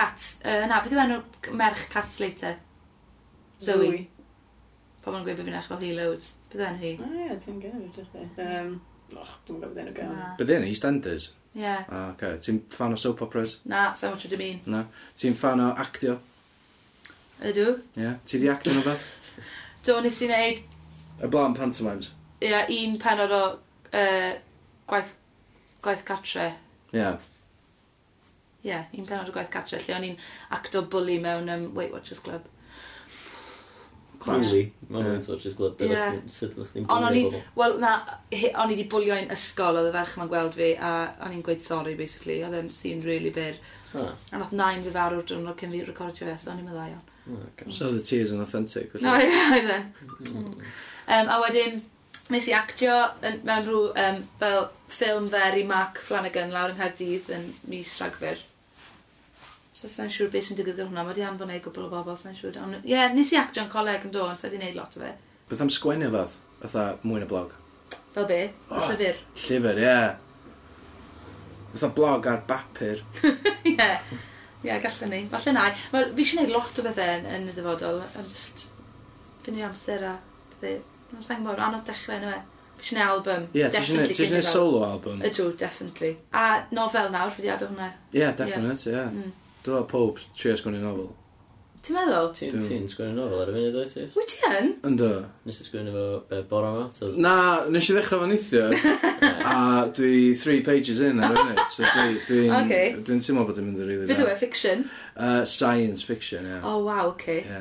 S4: Cat, uh, na, beth yw enw c- merch Cat Slater? Zoe. Pobl yn gweud bod fi'n eich fel hi loads. Beth yw enw hi?
S3: O ie, ti'n gael edrych chi. Yym, Och, dwi'n gwybod enw gael.
S4: Na.
S1: Bydd yn EastEnders.
S4: Ie. Yeah.
S1: Ah, okay. Ti'n fan o soap operas?
S4: Na, sa'n mwyn dwi'n mean.
S1: Na. Ti'n fan o actio?
S4: Ydw.
S1: Ie. Yeah. Ti di actio nhw beth?
S4: Do, nes i wneud
S1: Y blaen pantomimes.
S4: ia, un penod o uh, gwaith, gwaith catre.
S1: Ie. Yeah.
S4: Ie, yeah, un penod o gwaith catre, lle o'n i'n acto bully mewn um, Weight Watchers Club.
S1: Class.
S2: Cwli. Mae'n mynd o'r just glwb.
S4: Ie.
S2: Sut ydych chi'n
S4: Ond o'n i,
S2: bwyd bobl?
S4: wel na, hi- o'n i wedi bwlio i'n ysgol oedd y ferch yma'n gweld fi a o'n i'n gweud sorry basically, oedd e'n sîn really byr.
S2: Ah,
S4: A nath nain fi farw'r diwrnod cyn fi recordio fe, so o'n i'n meddai o'n.
S2: okay.
S1: So the tea is an authentic.
S4: No, ie, oedd e. Um, a wedyn, nes i actio yn, mewn rhyw um, fel ffilm fer i Mark Flanagan lawr yng Nghaerdydd yn mis Rhagfyr. So sa'n siŵr beth sy'n digwydd ar hwnna, mae di anfon ei gwbl o bobl, sa'n siŵr. Ond Ie, yeah, nes i actio'n coleg yn dod, sa'n di wneud lot o fe.
S1: Beth am sgwennu beth? Fytha mwy na blog.
S4: Fel be?
S1: Oh.
S4: Llyfr.
S1: Llyfr, ie. Yeah. Fytha blog ar bapur.
S4: Ie, ie, gallwn ni. Falle na. Wel, fi eisiau gwneud lot o bethau yn, yn y dyfodol, a just fynd amser a bethau. Mae'n sain bod, anodd dechrau yna fe. Fi eisiau gwneud album.
S1: Ie, yeah, ti eisiau gwneud- ti eisiau gwneud solo album? Ie,
S4: Ydw, definitely. A nofel nawr, fi di adeg hwnna.
S1: yeah, definitely, ie. Yeah.
S4: Mm.
S1: Dwi'n dod pob trio sgwennu nofel.
S4: Ti'n meddwl?
S2: Ti'n
S1: Dwi'n-
S2: ti'n sgwennu nofel ar y funud oes ti?
S4: Wyt ti yn?
S1: Ynddo.
S2: Nes i sgwennu fo be, bora yma? So,
S1: Na, nes i ddechrau fan eithio, a dwi three pages in ar hynny. So dwi- dwi'n
S4: Oce.
S1: dwi dwi'n teimlo bod yn mynd yn rili
S4: Fydd yw e, fiction?
S1: Uh, science fiction, ie.
S4: O, oh, waw, oce.
S1: Ie.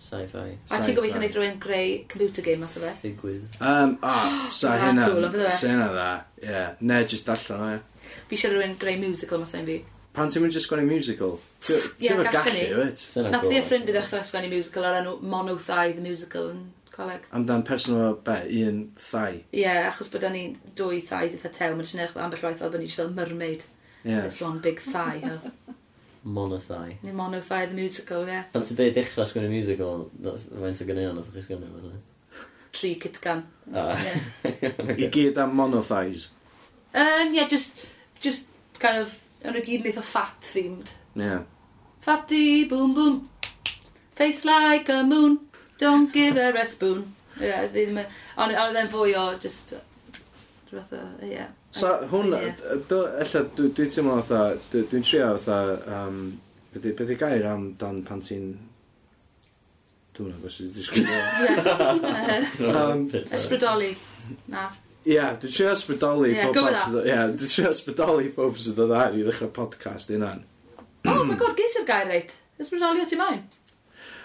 S2: Sci-fi.
S4: A
S1: sci-fi.
S4: ti'n gobeithio wneud rhywun greu computer game mas o fe?
S2: Figwydd.
S1: Um, a, sa
S4: Ma'
S1: hynna,
S4: Ah, cool, ond fydde fe?
S1: sa hynna dda, ie. Ne, jyst darllen o, ie.
S4: Fi eisiau rhywun greu musical mas o'n fi.
S1: Pan ti'n mynd jyst sgwennu musical? Ti-
S4: Ie,
S1: Ti'n fawr
S4: gallwn
S1: gallu,
S4: ni.
S1: wyt?
S4: Nath fi a ffrind fi ddechrau sgwennu musical o'r enw Monothai the Musical yn coleg.
S1: Amdan person o be, un thai.
S4: Ie, yeah, achos bod o'n i dwy thai eitha tew, mae'n sy'n edrych fel ambell waith fel bod ni'n fel mermaid.
S1: Ie.
S4: This one big thai. fel.
S2: Monothai.
S4: Neu mono thai the musical, ie. Yeah.
S2: Pan ti'n deud dechrau sgwennu musical, nath- faint o gynnu o'n nath chi sgwennu fo?
S4: Tri cytgan.
S2: Ah.
S4: Ie,
S1: I gyd am monothais.
S4: um, yeah, just, just kind of, yn y gyd yn eitha fat themed.
S1: Ie.
S4: Fatty, boom, boom. Face like a moon. Don't give her a spoon. Ie, yeah, fi ddim yn... Ond oedd e'n fwy o just... Rwyth o, ie.
S1: So, hwn,
S4: Ie.
S1: ella, dwi dwi teimlo fatha, dwi- dwi'n trio fatha, um, beth i- beth i gair am dan pan ti'n... Dwi'n gwybod sydd wedi sgrifio.
S4: Ie.
S1: Um,
S4: Ysbrydoli. Na.
S1: Ie, dwi'n trio ysbrydoli
S4: Ie,
S1: pob
S4: go with
S1: pawb sydd o- Ie, dwi'n trio ysbrydoli pob sydd o dda i ddechrau podcast unan.
S4: Oh my god, geis i'r gair reit. Ysbrydoli o ti moyn?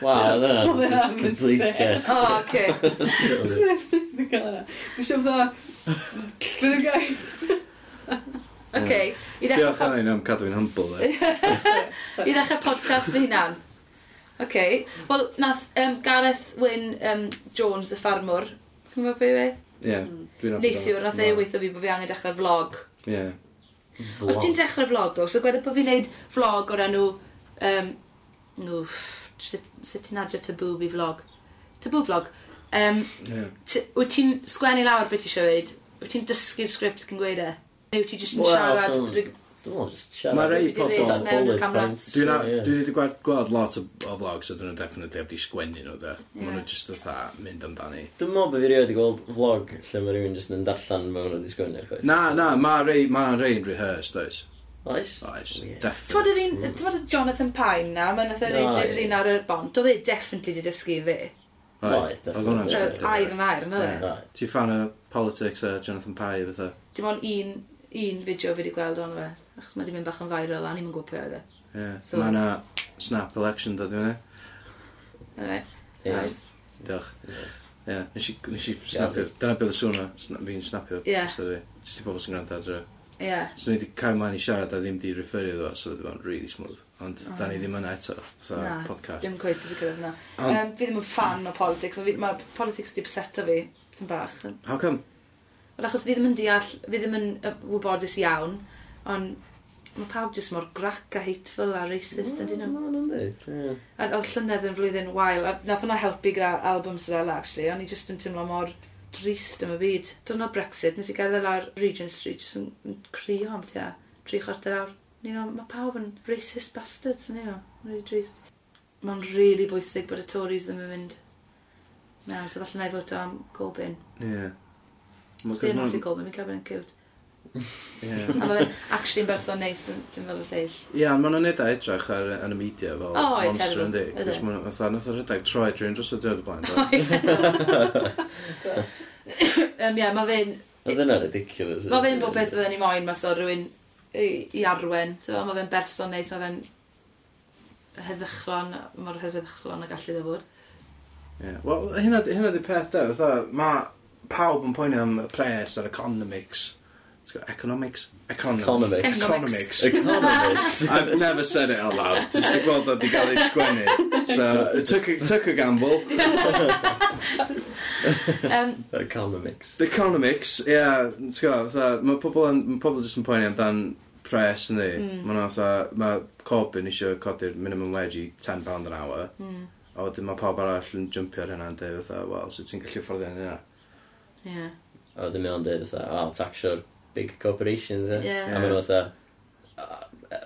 S2: Wow,
S3: Wel,
S2: dyna.
S3: mae
S2: Just
S3: hwnna'n
S2: complete
S3: insane.
S2: guess.
S4: O, oh, oce. Okay.
S3: Dwi'n cael yna. Dwi'n siarad fatha... Dwi'n gael...
S4: Oce. Okay. I ddechrau
S1: Diolch
S4: pod-
S1: yna i am cadw fi'n humble. e.
S4: i ddechrau podcast fy hunan. Oce. Okay. Wel, nath um, Gareth Wyn um, Jones, y ffarmwr, Cymru be fe?
S1: Ie, dwi'n apod-
S4: Neithiwr, nath e
S1: Na.
S4: weithio fi bod fi angen dechrau vlog.
S1: Ie.
S4: Os ti'n dechrau vlog, ddo, so gweda bod fi'n neud vlog o'r enw... Um, wff, sut sut ti'n adio tabw fi vlog? Tabw vlog. Um,
S1: Ie.
S4: t- wyt ti'n sgwennu lawr beth ti isio weid? Wyt ti'n dysgu'r sgript cyn gweud e? Neu wyt ti jyst yn
S2: Wel,
S4: siarad?
S2: so-
S4: reg-
S2: Dwi'n meddwl just siarad.
S1: Mae rei
S4: Dwi 'di
S1: pobl-
S4: reis mewn y
S2: Bullet
S4: camera.
S2: points.
S1: Dwi'n a-
S2: ie.
S1: dwi wedi gweld, gweld lot o, o vlogs ydyn nhw definitely heb di sgwennu nhw da.
S4: Ie.
S1: Yeah. Mae nhw jyst fatha mynd amdani.
S2: Dwi'n meddwl bod fi rioed i gweld vlog lle mae rhywun jyst yn darllen mewn o ddisgwyniad chwaith.
S1: Na, na, mae rei, ma rei yn rehearsed, oes.
S2: Oes?
S1: Oes,
S2: Ie.
S4: Ti'n
S1: definitely.
S4: fawr Jonathan Pine na, mae'n nath yr un
S2: O,
S4: neud yr
S2: Mm. ie.
S4: un ar y bont, oedd e definitely wedi dysgu i fi.
S1: Oes,
S2: Oes,
S1: Oedd hwnna'n
S2: definitely.
S4: So, Air
S1: sgwennu.
S4: yn air, na
S1: Ie.
S4: dde.
S2: Right.
S1: Ti'n fan o politics a Jonathan Pye fatha?
S4: Dim ond un, un fideo fi wedi gweld o'n fe, achos mae wedi mynd bach yn viral a ni'n gwybod pwy oedd e.
S1: Ie.
S4: So-
S1: Mae yna snap election dod i fyny.
S4: Alright.
S2: Yes.
S1: Diolch.
S2: Yes.
S1: Ie, nes i, nes i snapio. Dyna beth y sŵn o, sna- fi'n snapio.
S4: Ie.
S1: So dwi, jyst i bobl sy'n gwrando adre.
S4: Ie.
S1: So ni wedi cael mlaen i siarad a ddim di referio iddo fo, so dwi fo'n really smooth. Ond
S4: O.
S1: da ni ddim yna eto, fatha
S4: Na,
S1: podcast.
S4: Dim gweud wedi gweld na.
S1: Ond-
S4: Yym, Fi ddim yn fan o politics, ond fi- mae politics wedi beseto fi, tyn bach.
S1: How come?
S4: Wel, achos fi ddim yn deall, fi ddim yn yy, wybodus iawn, ond Mae pawb jyst mor grac a hateful a racist, ydyn nhw.
S2: Mae'n yn dweud. ie.
S4: A oedd llynedd yn flwyddyn wael, a nath hwnna helpu gyda album Sorella, actually, o'n i jyst yn teimlo mor drist am y byd. Dyna Brexit, nes i gerdded lawr Regent Street, jyst yn, yn crio am tua, tri chwarter awr. Ni no, mae pawb yn racist bastards, ni no, really drist. Mae'n really bwysig bod y Tories ddim yn mynd. Mewn, so falle na i fod am Corbyn.
S1: Ie. Ma'
S4: Sbyn off i
S1: gyfnod-
S4: Corbyn, mae Corbyn yn cywt.
S1: Ie.
S4: A mae fe'n actually yn berson neis yn, yn fel y lleill.
S1: Ie, ond maen nhw'n neud o edrych ar, yn y media fel
S4: O, ie,
S1: monster
S4: terrible,
S1: yn di.
S4: ydyn.
S1: Cos maen nhw'n fatha, nath o rhedeg troi drwy'n dros o dod o blaen. do?
S4: Um, yeah, mae fe'n
S2: Oedd yna ridiculous.
S4: Mae fe'n bod beth ydyn ni moyn, mae so rhywun i, i arwen. So, mae fe'n berson neis, mae fe'n heddychlon, mor heddychlon a gallu dda fod.
S1: Ie. Wel, hynna di- hynna di peth da, fatha, mae pawb yn poeni am y pres ar economics. It's got economics? Economics. Economics.
S2: Economics. Economics.
S1: I've never said it out loud, just i gweld oedd i gael ei sgwennu. So, it took a, took a gamble.
S4: Um,
S2: Economics.
S1: Economics, ie, yeah, fatha, mae pobl, yn, ma pobl jyst yn poeni amdan pres yn di. Mm.
S4: Mm.
S1: Mae'n fatha, mae Corbyn eisiau codi'r minimum wage i £10 an hour.
S4: mm,
S1: A wedyn mae pawb arall yn jumpio ar hynna yn dweud fatha, wel, so ti'n gallu fforddio hynna.
S4: yeah.
S2: A wedyn mewn dweud oedd, oh, taxio'r big corporations, e?
S4: Yeah.
S2: A mae'n oedd,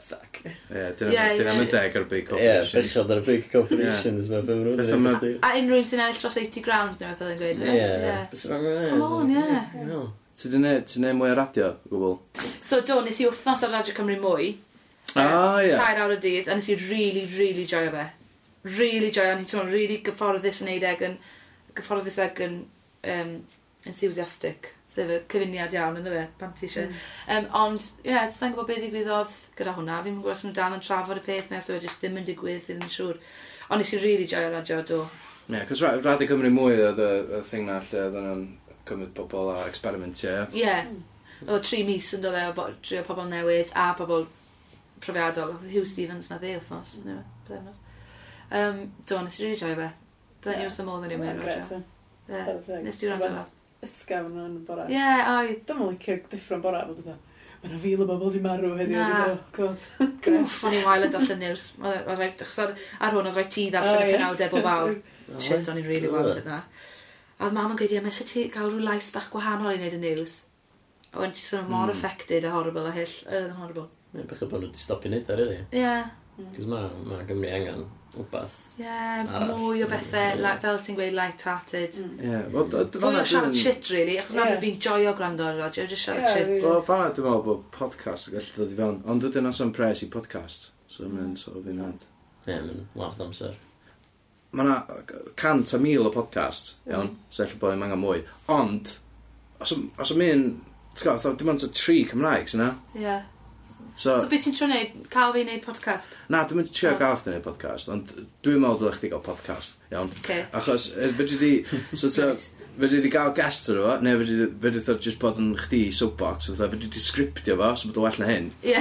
S2: fuck.
S1: Ie,
S4: Ie,
S1: dyna
S4: ie.
S1: dyna mae'n deg ar big
S2: Ie,
S1: corporations.
S2: bechod ar y big corporations, mae'n byw nhw'n
S1: Beth am y-
S2: dweud.
S4: A unrhyw un sy'n ennill dros 80 grand, neu beth oedd yn gweud.
S2: Ie. Come
S4: Come on, ie.
S1: Ti di neud, ti di neud mwy o radio, o gwbl?
S4: So, do, nes i wythnos ar Radio Cymru mwy.
S1: O,
S4: Ie.
S1: ie.
S4: Tair awr y dydd, a nes i really, really joio fe. Really joio, ni'n teimlo'n really gyfforddus yn neud ag yn... gyfforddus ag yn... Um, enthusiastic. Sef y cyfuniad iawn yn y fe, pan ti eisiau. Um, ond, ie, yeah, sa'n gwybod beth ddigwyddodd gyda hwnna. Fi'n gwybod os nhw dal yn trafod y peth nes oedd jyst ddim yn digwydd, fi ddim yn siŵr. Ond nes i really joio radio, do.
S1: Ie, cos ra- Radio Cymru mwy oedd y y thing na lle oedd nhw'n cymryd pobl a experimentio, ie.
S4: Ie. Yeah. Oedd tri mis yn dod e o bo- trio pobl newydd a pobl profiadol. Oedd Hugh Stevens na dde wythnos. neu pythefnos. Um, do, nes i rili joio fe. Byddai ni wrth y modd yn ymwneud radio. Ie. Nes ti wrando fel.
S3: Ysgaf yn y bora.
S4: Ie, oedd.
S3: Dwi'n meddwl licio deffro'n bora, fel dda. Mae yna fil o bobl di marw heddiw.
S4: Na.
S3: Na. Gwrdd.
S4: Wff, o'n i'n wael yn darllen news. Oedd- e, oedd rhaid- Achos ar ar hwn, oedd rhaid ti
S3: O,
S4: ddarllen y
S3: Oh, ie.
S4: penawdau bob awr. Shit,
S2: Shit.
S4: o'n i'n really wael gyda. A oedd mam yn gweud, ie, mae sy'n ti gael rhyw lais bach gwahanol i wneud y news. A wedyn ti'n sôn mor
S1: Mm.
S4: affected a horrible a hyll. Oedd yn horrible.
S2: Bechod bod nhw wedi stopio neud ar ydi.
S4: Ie.
S3: Mm.
S2: Cos mae ma Gymru angen wbath.
S4: Ie,
S2: Arall.
S4: mwy o bethau,
S2: Mm.
S4: like, fel ti'n gweud, light-hearted.
S3: Mm.
S1: Ie, wel, d- d-
S4: Fwy
S1: fan'na
S4: o siarad
S1: dwi'n-
S4: shit, really, achos
S3: Ie.
S4: yeah. nad fi'n joio gwrando ar y radio, just siarad
S3: Ie,
S4: shit.
S3: fi-
S1: Wel, fan'na dwi'n meddwl bod podcast yn gallu dod i fewn, ond dwi'n nos am pres i podcast, so mae'n sort of fi'n hand.
S2: Ie, mae'n last amser.
S1: Mae yna cant a mil o podcast,
S4: Mm.
S1: iawn, so efallai bod ni'n angen mwy. Ond, os ym- os ym un, ti'n gwybod, dim ond y tri Cymraeg sy'n na.
S4: Ie. Yeah.
S1: So,
S4: So beth ti'n trio neud, cael fi neud podcast?
S1: na, dwi'n mynd i trio
S4: O.
S1: gael chdi neud podcast, ond dwi'n meddwl dylech chi gael podcast, iawn.
S4: Okay.
S1: Achos, eh, fedri di, so ti'n, fedri di gael guest ar efo, neu fedri di- fedri di just bod yn chdi soapbox, fatha, fedri di sgriptio fo, so bod o well na hyn.
S4: Ie.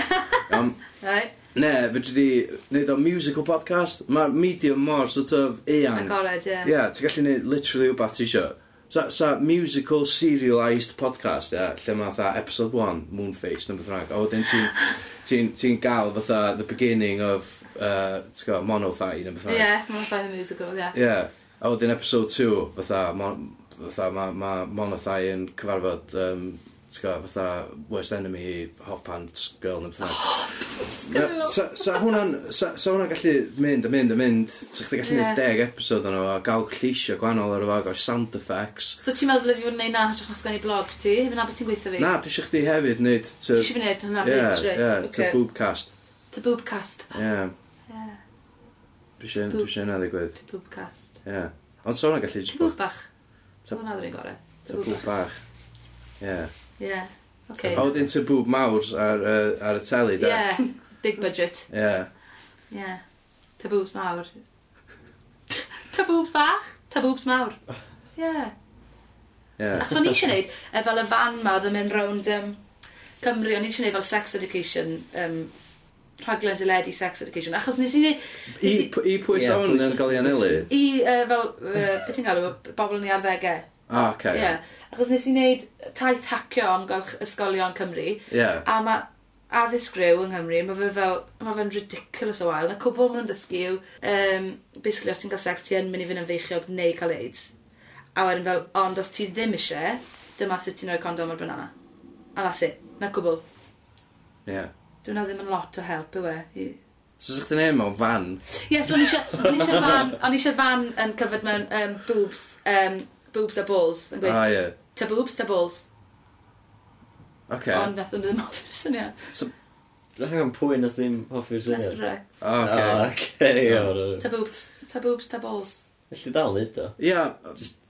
S1: Iawn,
S4: Right.
S1: ne, fedri di neud o musical podcast, mae medium mor sort of eang.
S4: Agored, ie.
S1: Ie, yeah, ti'n gallu neud literally wbeth ti isio. Sa, sa musical serialised podcast, ie, lle mae fatha episode 1, Moonface, neu beth rhaid. A wedyn ti'n ti ti gael fatha the beginning of, uh, ti'n gael, Monothai, neu beth
S4: Ie,
S1: rhaid.
S4: mae'n ffaith y musical, ie.
S1: Ie. A wedyn episode 2, fatha, mon, fatha mae ma Monothai yn cyfarfod, um, ti'n gael, fatha Worst Enemy i Hot Pants Girl, neu beth rhaid.
S4: Girl.
S1: Sa, sa hwnna'n sa, sa hwnna'n gallu mynd a mynd a mynd, sa chdi gallu
S4: Ie.
S1: neud 10 episode o'n o, a gael lleisio gwahanol ar efo, gael sound effects.
S4: So ti'n meddwl dylai fi fod yn neud na, hytrach na sgwennu blog ti? Mae'n abod ti'n gweithio fi?
S1: Na, dwi eisiau chdi hefyd wneud...
S4: Ti eisiau fi neud hwnna?
S1: Ie,
S4: Ie,
S1: ie, to
S4: ie.
S1: boobcast.
S4: To boobcast.
S1: Ie,
S4: Ie,
S1: dwi eisiau
S4: Boob-
S1: dwi eisiau hynna ddigwydd.
S4: to boobcast.
S1: Ie. Ond so hwnna gallu
S4: Ti'n
S1: jyst
S4: bwch
S1: bod
S4: bach?
S1: Ta-
S4: Ti'n hwnna ddyn ni'n gorau?
S1: ta boob bach. Ie.
S4: Ie.
S1: A
S4: Okay.
S1: wedyn ta boob mawr ar yy, ar y teli, da.
S4: Yeah, big budget.
S1: Ie.
S4: Yeah. Tabws mawr. Tabws bach? Tabws mawr. Yeah.
S1: Ie.
S4: Achos o'n i eisiau neud, e, fel y fan ma oedd yn mynd rownd um, Cymru, o'n i eisiau neud fel sex education, um, rhaglen dyledu sex education. Achos nes i neud,
S1: I p- i pwy
S2: Ie,
S1: sawn
S2: pwy
S1: yn
S2: sa'n-
S1: cael ei anelu?
S4: i uh, fel, uh, beth ti'n galw, bobl yn ei arddegau.
S1: Ah, oce.
S4: Yeah. Achos nes i neud taith hacio am golch ysgolion Cymru,
S1: Ie.
S4: a mae addysg grew yng Nghymru, mae fe fel, mae fe'n ridiculous o wael. Na cwbl maen nhw'n dysgu yw, um, basically os ti'n cael sex, ti yn mynd i fynd yn feichiog neu cael AIDS. A wedyn fel, ond os ti ddim eisiau, dyma sut ti'n rhoi condom ar banana. A that's it. Na cwbl.
S1: Yeah.
S4: Dwi'n na ddim yn lot o help yw e. i-
S1: So sa'ch chi'n ei mewn fan?
S4: Ie, so o'n eisiau fan, o'n eisiau fan yn cyfod mewn um, boobs, um, boobs a balls. Yn gweud,
S1: Ah, ie.
S4: ta boobs, ta balls.
S1: Oce.
S4: Ond nath o'n ddim offer syniad.
S2: Dwi'n hang o'n pwy na ddim hoffi'r
S4: Nes
S2: syniad.
S4: ydre.
S1: Oce.
S2: Oce, iawn.
S4: Ta boobs, ta boobs, ta balls.
S2: Felly dal nid o.
S1: Ia,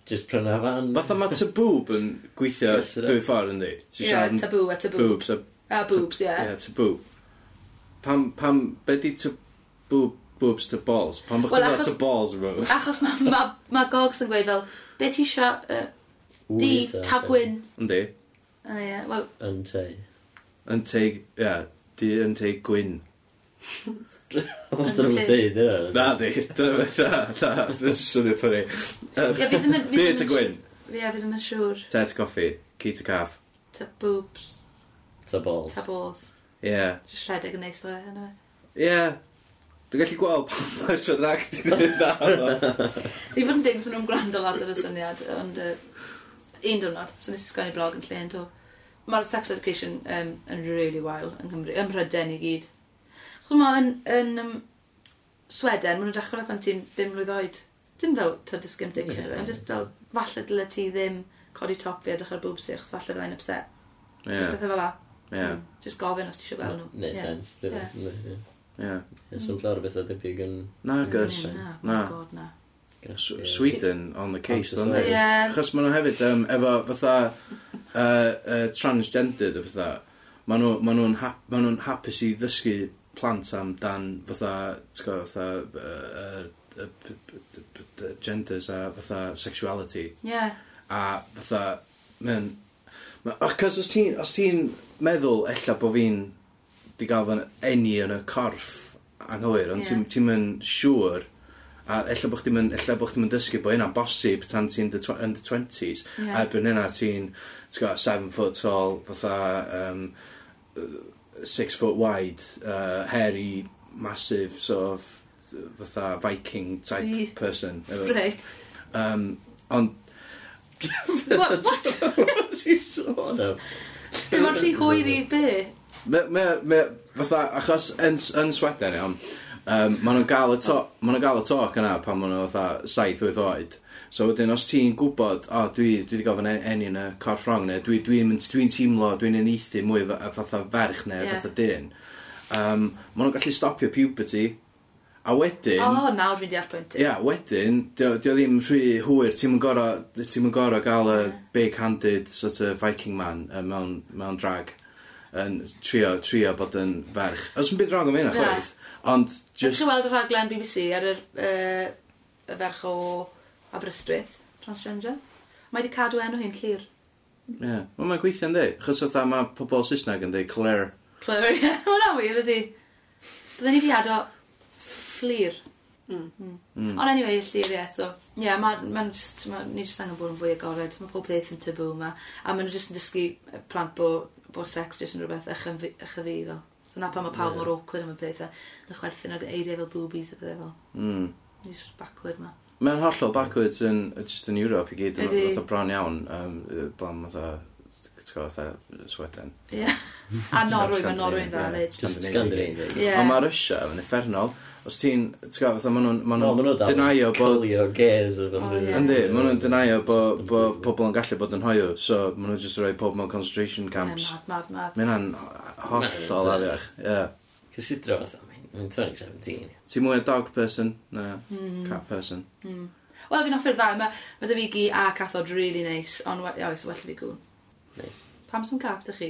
S2: Just pryna fan.
S1: fatha mae taboob yn gweithio
S2: Yes, it is.
S1: dwy ffordd yn di. Ti'n
S4: Ie,
S1: siarad yn
S4: taboo a taboo.
S1: boobs a...
S4: A boobs, ie.
S1: Ie, taboo. Pam, pam, be di taboo, boobs to balls? Pam bych
S4: Wel,
S1: chi'n dod
S4: achos-
S1: to balls yn rhywbeth?
S4: Achos mae ma, ma Gogs yn gweud fel, be ti isio, uh,
S2: Wŷ
S4: di,
S2: ta,
S4: tagwyn.
S1: Yndi.
S4: A ie, wel,
S2: Yn tei.
S1: Yn teig, ie, di yn teig gwyn.
S2: Ond dyn nhw'n
S4: tei.
S2: deud, ie.
S1: Na di, dyna fe, na, na, dwi'n swnio ffynu.
S4: ie, fi ddim yn... fi
S1: Di
S4: ddim
S1: to
S4: yn
S1: gwyn,
S4: si- Ie, fi ddim yn siŵr.
S1: tet coffi, ci to caff.
S4: Ta boobs,
S2: Ta balls.
S4: ta balls.
S1: Ie.
S4: Just rhedeg yn neis o e, hynny.
S1: Ie. Dwi'n gallu gweld pan mae'n sy'n rhaid i ddweud na.
S4: Fi fod yn dweud bod nhw'n gwrando lot ar y syniad, ond uh, un diwrnod, so nes i sgwennu blog yn lle yn do. Mae'r sex education um, yn really wael yng Nghymru, ym Mhryden i gyd. Chwm ma, yn, yn um, Sweden, maen nhw'n dechrau fe pan ti'n 5 mlynedd oed. Dim fel ta disgym digs
S2: Ie.
S4: yeah. just fel, falle dyle ti ddim codi top fi a dechrau'r boobs i, achos falle fyddai'n upset. Yeah. Just
S1: Ie,
S4: pethau fel la.
S1: ie,
S4: Mm. Just gofyn os ti eisiau gweld nhw. Mm.
S2: Neu sens. Ysyn
S1: ie.
S2: llawer o bethau debyg yn...
S1: Na,
S2: Mm.
S1: gys.
S2: Yes.
S4: Na,
S1: Na.
S4: na. Oh, God, na.
S1: S- Sweden on the case,
S2: Ond
S1: don't
S2: Yes.
S1: they?
S4: Ie,
S1: Chos maen nhw hefyd, um, efo fatha uh, uh, transgendered o fatha, maen nhw'n ma nhw hap, ma nhw hapus i ddysgu plant am dan fatha, ti'n gwybod, fatha, uh, uh, p- p- p- p- p- genders a fatha sexuality.
S4: ie.
S1: A fatha, mae'n... Acos os ti'n os ti'n meddwl ella bod fi'n di gael fan eni yn y corff anghywir, ond
S4: Ie.
S1: yeah. ti'n mynd siŵr, a ella bod chdi'n ella bod chdi'n dysgu bod hynna'n bosib tan ti'n dy tw- yn dy 20s,
S4: Ie.
S1: a erbyn hynna ti'n, ti'n gwybod, 7 foot tall, fatha um, 6 foot wide, uh, hairy, massive, sort of, fatha Viking type
S4: Ie.
S1: person. efo-
S4: Reit.
S1: Um, ond
S4: What? what?
S2: Ti'n sôn am?
S4: Be mae'n rhy hwyr i be?
S1: Me, me, me, fatha, achos yn, yn Sweden iawn, um, maen nhw'n gael y to- ma' nhw'n gael y talk yna pan maen nhw fatha 7-8 oed. So wedyn, os ti'n gwybod, o, oh, dwi, dwi wedi gofyn en- eni yn y corff rong, neu dwi'n dwi dwi'n dwi teimlo, dwi'n uniaethu mwy fa- a fatha ferch neu
S4: Ie.
S1: yeah. fatha dyn, um, maen nhw'n gallu stopio puberty, a wedyn...
S4: O, nawr fi'n deall pwynt
S1: Ie, yeah, wedyn, dio, dio ddim rhy hwyr, ti'n mynd gorau, ti'n mynd gorau gael y big-handed sort of Viking man uh, mewn, mewn drag yn trio, trio bod yn ferch. Os yn byd rong am hynna,
S4: Na.
S1: chwaith, ond
S4: Just...
S1: just...
S4: Ydych chi weld y rhaglen BBC ar yr, uh, y ferch o Aberystwyth, transgender? Mae wedi cadw enw hyn llir.
S1: Yeah. Wel, mae'n gweithio'n dweud, achos oedd mae pobl Saesneg yn dweud Claire.
S4: Clever, ie. Mae'n awyr ydi. Byddwn ni wedi ado fflir.
S3: Mm.
S1: Mm.
S4: Ond anyway, llir, ie. So, ie, yeah, mae'n ma just, ma, ni jyst angen bod yn fwy agored. Mae pob peth yn tabw yma. A maen nhw jyst yn dysgu yy, plant bod bo sex jyst yn rhywbeth ychyfi ychyfi fel. So na pan mae pawb
S2: Ie.
S4: mor awkward am y pethau. Yn chwerthin ag eiriau fel boobies a bethau fel.
S1: Mm.
S4: Ni jyst backward ma.
S1: Mae'n hollol backwards yn, just yn Europe i gyd,
S4: Ydi.
S1: oedd o bron iawn, um, yy, blan oedd o Sweden.
S4: Ie. A Norwy, mae
S1: Scandinavia,
S4: Norwy'n
S1: ie.
S4: dda, Lidge.
S2: Just Scandinavia.
S4: Ie.
S1: Ond mae Russia yn effernol, os ti'n, ti'n gael, fatha, maen nhw'n ma'
S2: No, maen nhw
S1: nhw'n
S2: dal.
S1: denio bod...
S2: Cylio gays o fan
S4: O, ie.
S1: Yndi, maen nhw'n denio bod bo pobl yn gallu bod yn hoiw, so maen nhw'n just rhoi pob mewn concentration
S4: Ie,
S1: camps.
S4: Mad, mad, mad.
S1: Mae hynna'n hollol
S2: Na,
S1: afiach, ie.
S2: Cysidro fatha, mae'n 2017.
S1: Ti'n mwy o dog person, na
S4: Hmm.
S1: cat person.
S4: Wel, fi'n offer dda. Mae ma dy fi gi a cathod really neis, ond we- oes, well i fi gwn.
S2: Nice.
S4: Pam sy'n cath ydych chi?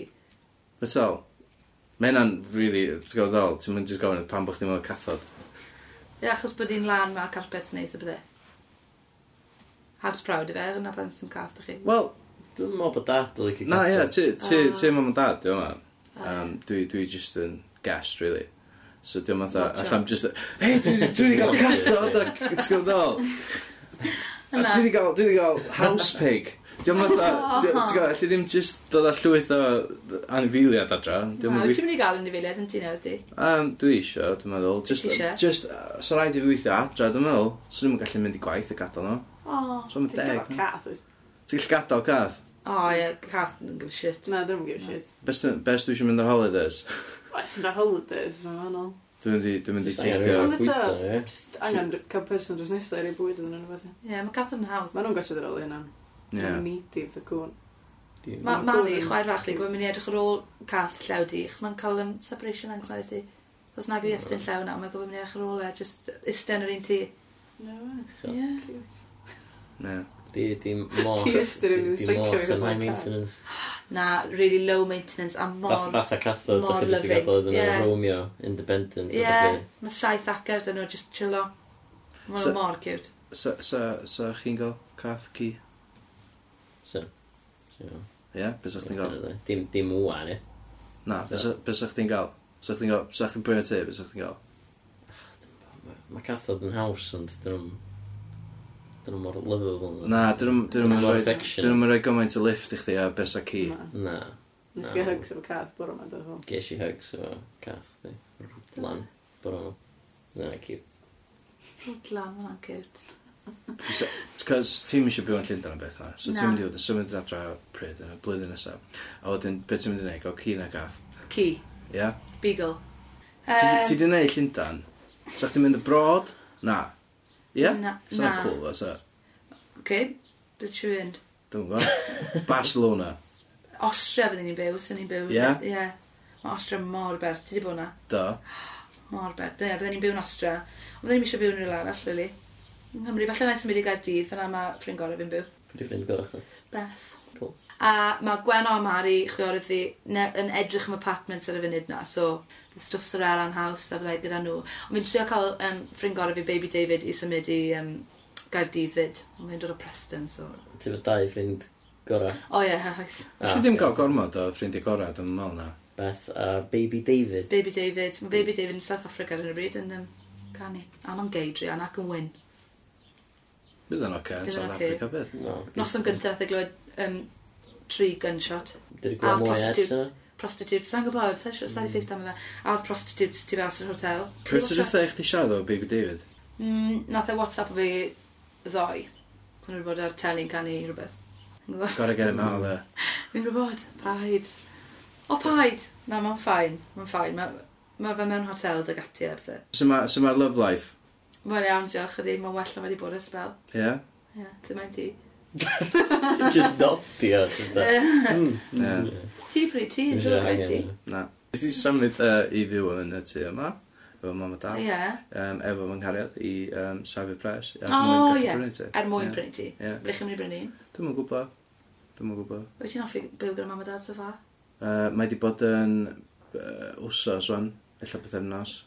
S1: Beth all? Mae hynna'n really, ti'n gwybod ddol, ti'n mynd just gofyn pan bych ti'n mwy o cathod.
S4: Ie, achos bod i'n lan ma carpets neis y bydde. House proud i fe, yna pan sy'n cath ydych chi.
S1: Wel,
S2: Dwi'n meddwl bod dad oedd
S1: na ie, ti, ti,
S4: Ah.
S1: ti mam yn dad, diolch ma.
S4: Ah.
S1: Um, dwi, dwi just yn guest, really. So diolch ma'n dda,
S4: Not
S1: allai'n just, hei, dwi wedi cael cathod, a- ti'n gwybod ddol. A
S4: Na.
S1: Dwi wedi gael, dwi wedi gael house pig. Diolch yn fatha,
S4: Oh.
S1: di- ti'n gwybod, alli ddim just dod â llwyth o anifeiliad adra.
S4: Ti'n
S1: Diolch yn
S4: mynd i gael yn difiliad yn ti nawr di?
S1: Um, dwi isio, dwi'n meddwl. Just,
S4: Ti isio?
S1: just, uh, so rhaid i fi weithio adra, dwi'n meddwl. So dwi'n gallu mynd i gwaith a gadael nhw.
S4: O,
S1: So mae'n
S3: Ti'n
S1: deg.
S3: gael
S1: no?
S3: cath, oes?
S1: Ti'n gallu gadael cath?
S4: o ie, cath yn gyfer shit.
S3: Na, dwi'n give a shit.
S1: Best, best dwi eisiau mynd ar holidays.
S3: Oes, yn da holidays, mae'n fanol.
S1: Dwi'n mynd i, dwi'n mynd i
S2: Jyst
S1: teithio.
S2: angen
S3: Ond
S2: rhywun
S3: eto-
S2: gwydo, ie.
S3: Just angen cael person dros nesaf i'r bwyd yn yna beth.
S4: Ie, mae cath yn hawdd.
S3: Mae nhw'n gotio ddod o'r hynna.
S1: Ie.
S3: Yeah. Meaty, the cwn.
S2: Dim-
S4: Ma-
S3: Ie.
S4: Mari,
S3: Cŵn.
S4: chwaer fach, dwi'n mynd i edrych ar ôl cath llaw di, chos mae'n cael um, separation anxiety. So os nag i fi estyn llaw na, mae'n gofyn mynd i edrych ar ôl e, just isten yr un tŷ.
S3: No,
S2: Ie.
S4: Ie.
S3: Cute.
S1: Ie.
S2: Di, di moch.
S3: Fi ystyr yn
S2: di- di
S3: stricio
S2: moch
S3: fi
S2: yn
S3: gyda'r
S2: high
S3: car.
S2: maintenance.
S4: Na, really low maintenance a mor...
S2: Fath fath a cathod,
S4: mor
S2: dach chi jyst i
S4: loving.
S2: gadael iddyn nhw
S4: Ie.
S2: Romeo, independent.
S4: Ie, mae saith acer dyn nhw, just chillo.
S1: So-
S4: Mae'n mor cute.
S1: So, so, so chi'n gael cath ci?
S2: So,
S1: Ie, beth sa'ch chi'n gael?
S2: Dim, dim wwan, ie.
S1: Na, beth sa- beth sa'ch chi'n gael? Sa'ch chi'n gael, sa'ch chi'n brynu te, beth sa'ch chi'n gael?
S2: Ma- Mae cathod yn haws, ond dyn nhw'n... Dyn nhw'n mor lovable. na.
S1: Na, dyn nhw'n dyn nhw'n
S2: Mor
S1: rhoi-
S2: affectionate.
S1: dyn nhw'n rhoi gymaint o lift i chdi a beth sa'ch ci.
S3: Na.
S2: Na,
S3: Nes
S2: Na.
S3: gael hugs efo cath bore yma, dwi'n hwn.
S2: gesh i hugs o cath, di. Lan, bora nhw. Na, cute.
S4: Glan, mae'n cute.
S1: Cos ti'n eisiau byw yn Llundain yn beth na. So ti'n
S4: Na.
S1: mynd i fod yn symud adra pryd yn y blwyddyn nesaf. A wedyn, beth ti'n mynd i neud? Gael cyn a gath.
S4: Ci,
S1: Ia?
S4: beagle.
S1: Ti
S4: Yym,
S1: ti di neud Llundain? Sa chdi'n mynd y brod? Na. Ia?
S4: Na-
S1: Sa
S4: na.
S1: cool, o sa.
S4: Oce, beth trwy fynd?
S1: Dwi'n gwybod. Barcelona.
S4: Austria fydden ni'n byw, sy'n ni'n byw.
S1: Ie.
S4: Ie. Mae Austria mor berth, ti di bod na?
S1: Do.
S4: Mor berth. Ie, bydden ni'n byw yn Austria. Ond bydden ni'n eisiau byw yn rhywle arall, really. Yng Nghymru, falle mae'n symud i Gaerdydd, fan'na mae ffrind gorau fi'n byw.
S2: Pwy di ffrind gorau chdi?
S4: Beth.
S2: Cool.
S4: A mae Gwen o Mari, chwiorydd fi, ne- yn edrych am apartments ar y funud na, so the stuff's ar Elan House a byddai gyda nhw. Ond fi'n trio cael um, ffrind gorau fi, Baby David, i symud i um, Gaerdydd fyd. Ond fi'n dod o Preston, so...
S2: Ti fod dau ffrind gorau.
S4: O ie, yeah, oes.
S1: Ti'n ddim gael gormod o ffrindiau gorau, dwi'n meddwl na.
S2: Beth a Baby David.
S4: Baby David. Mae Baby David yn South Africa ar hyn o bryd yn um, canu. A mae'n gay Drian ac yn wyn.
S1: Bydd yn oce yn
S4: Bydd yn
S1: South
S4: ocê.
S1: Africa, bydd.
S2: No.
S4: Nos am gyntaf, y glywed um, tri gunshot.
S2: Dwi wedi
S4: A
S2: gweld mwy Hmm.
S4: prostitute.
S2: ers yna.
S4: Prostitutes, sa'n gwybod, sa'n siarad sa'n ffeist am yma. A oedd prostitutes tu fas yr hotel.
S1: Pryd ti'n rhaid eich ti siarad o Baby David?
S4: Mm, nath e WhatsApp o fi ddoe. Dwi'n rhaid bod ar telly'n canu rhywbeth. Fi'n gwybod.
S1: Gotta get him out of there.
S4: Fi'n gwybod. Paid. O, paid. Na, mae'n ffain. Mae'n ffain. Mae ma fe mewn hotel dy gati e, a bethau.
S1: So ma- so mae'r love life.
S4: Mae'n iawn, diolch ydi. Mae'n well na wedi bod ysbel.
S1: Ie?
S4: Ie, ti'n mynd i.
S2: Just dodio. Just that.
S1: Ie.
S4: Ti di prynu ti,
S2: Ti'n
S4: yn
S2: siarad
S4: dod prynu ti.
S2: angen,
S1: Na. Dwi wedi symud yy, i fyw yn y tu yma, efo mam a dad,
S4: Ie,
S1: um, efo fy nghariad i um, Safio Pres.
S4: O, ie. er mwyn prynu ti.
S1: Ie.
S4: Ble chi'n mynd i brynu un?
S1: Dwi'n yn gwybod. Dwi'n yn gwybod.
S4: Wyt ti'n hoffi byw gyda mam a dad so far?
S1: Uh, mae wedi bod yn uh, wsos wan, illa bythefnos,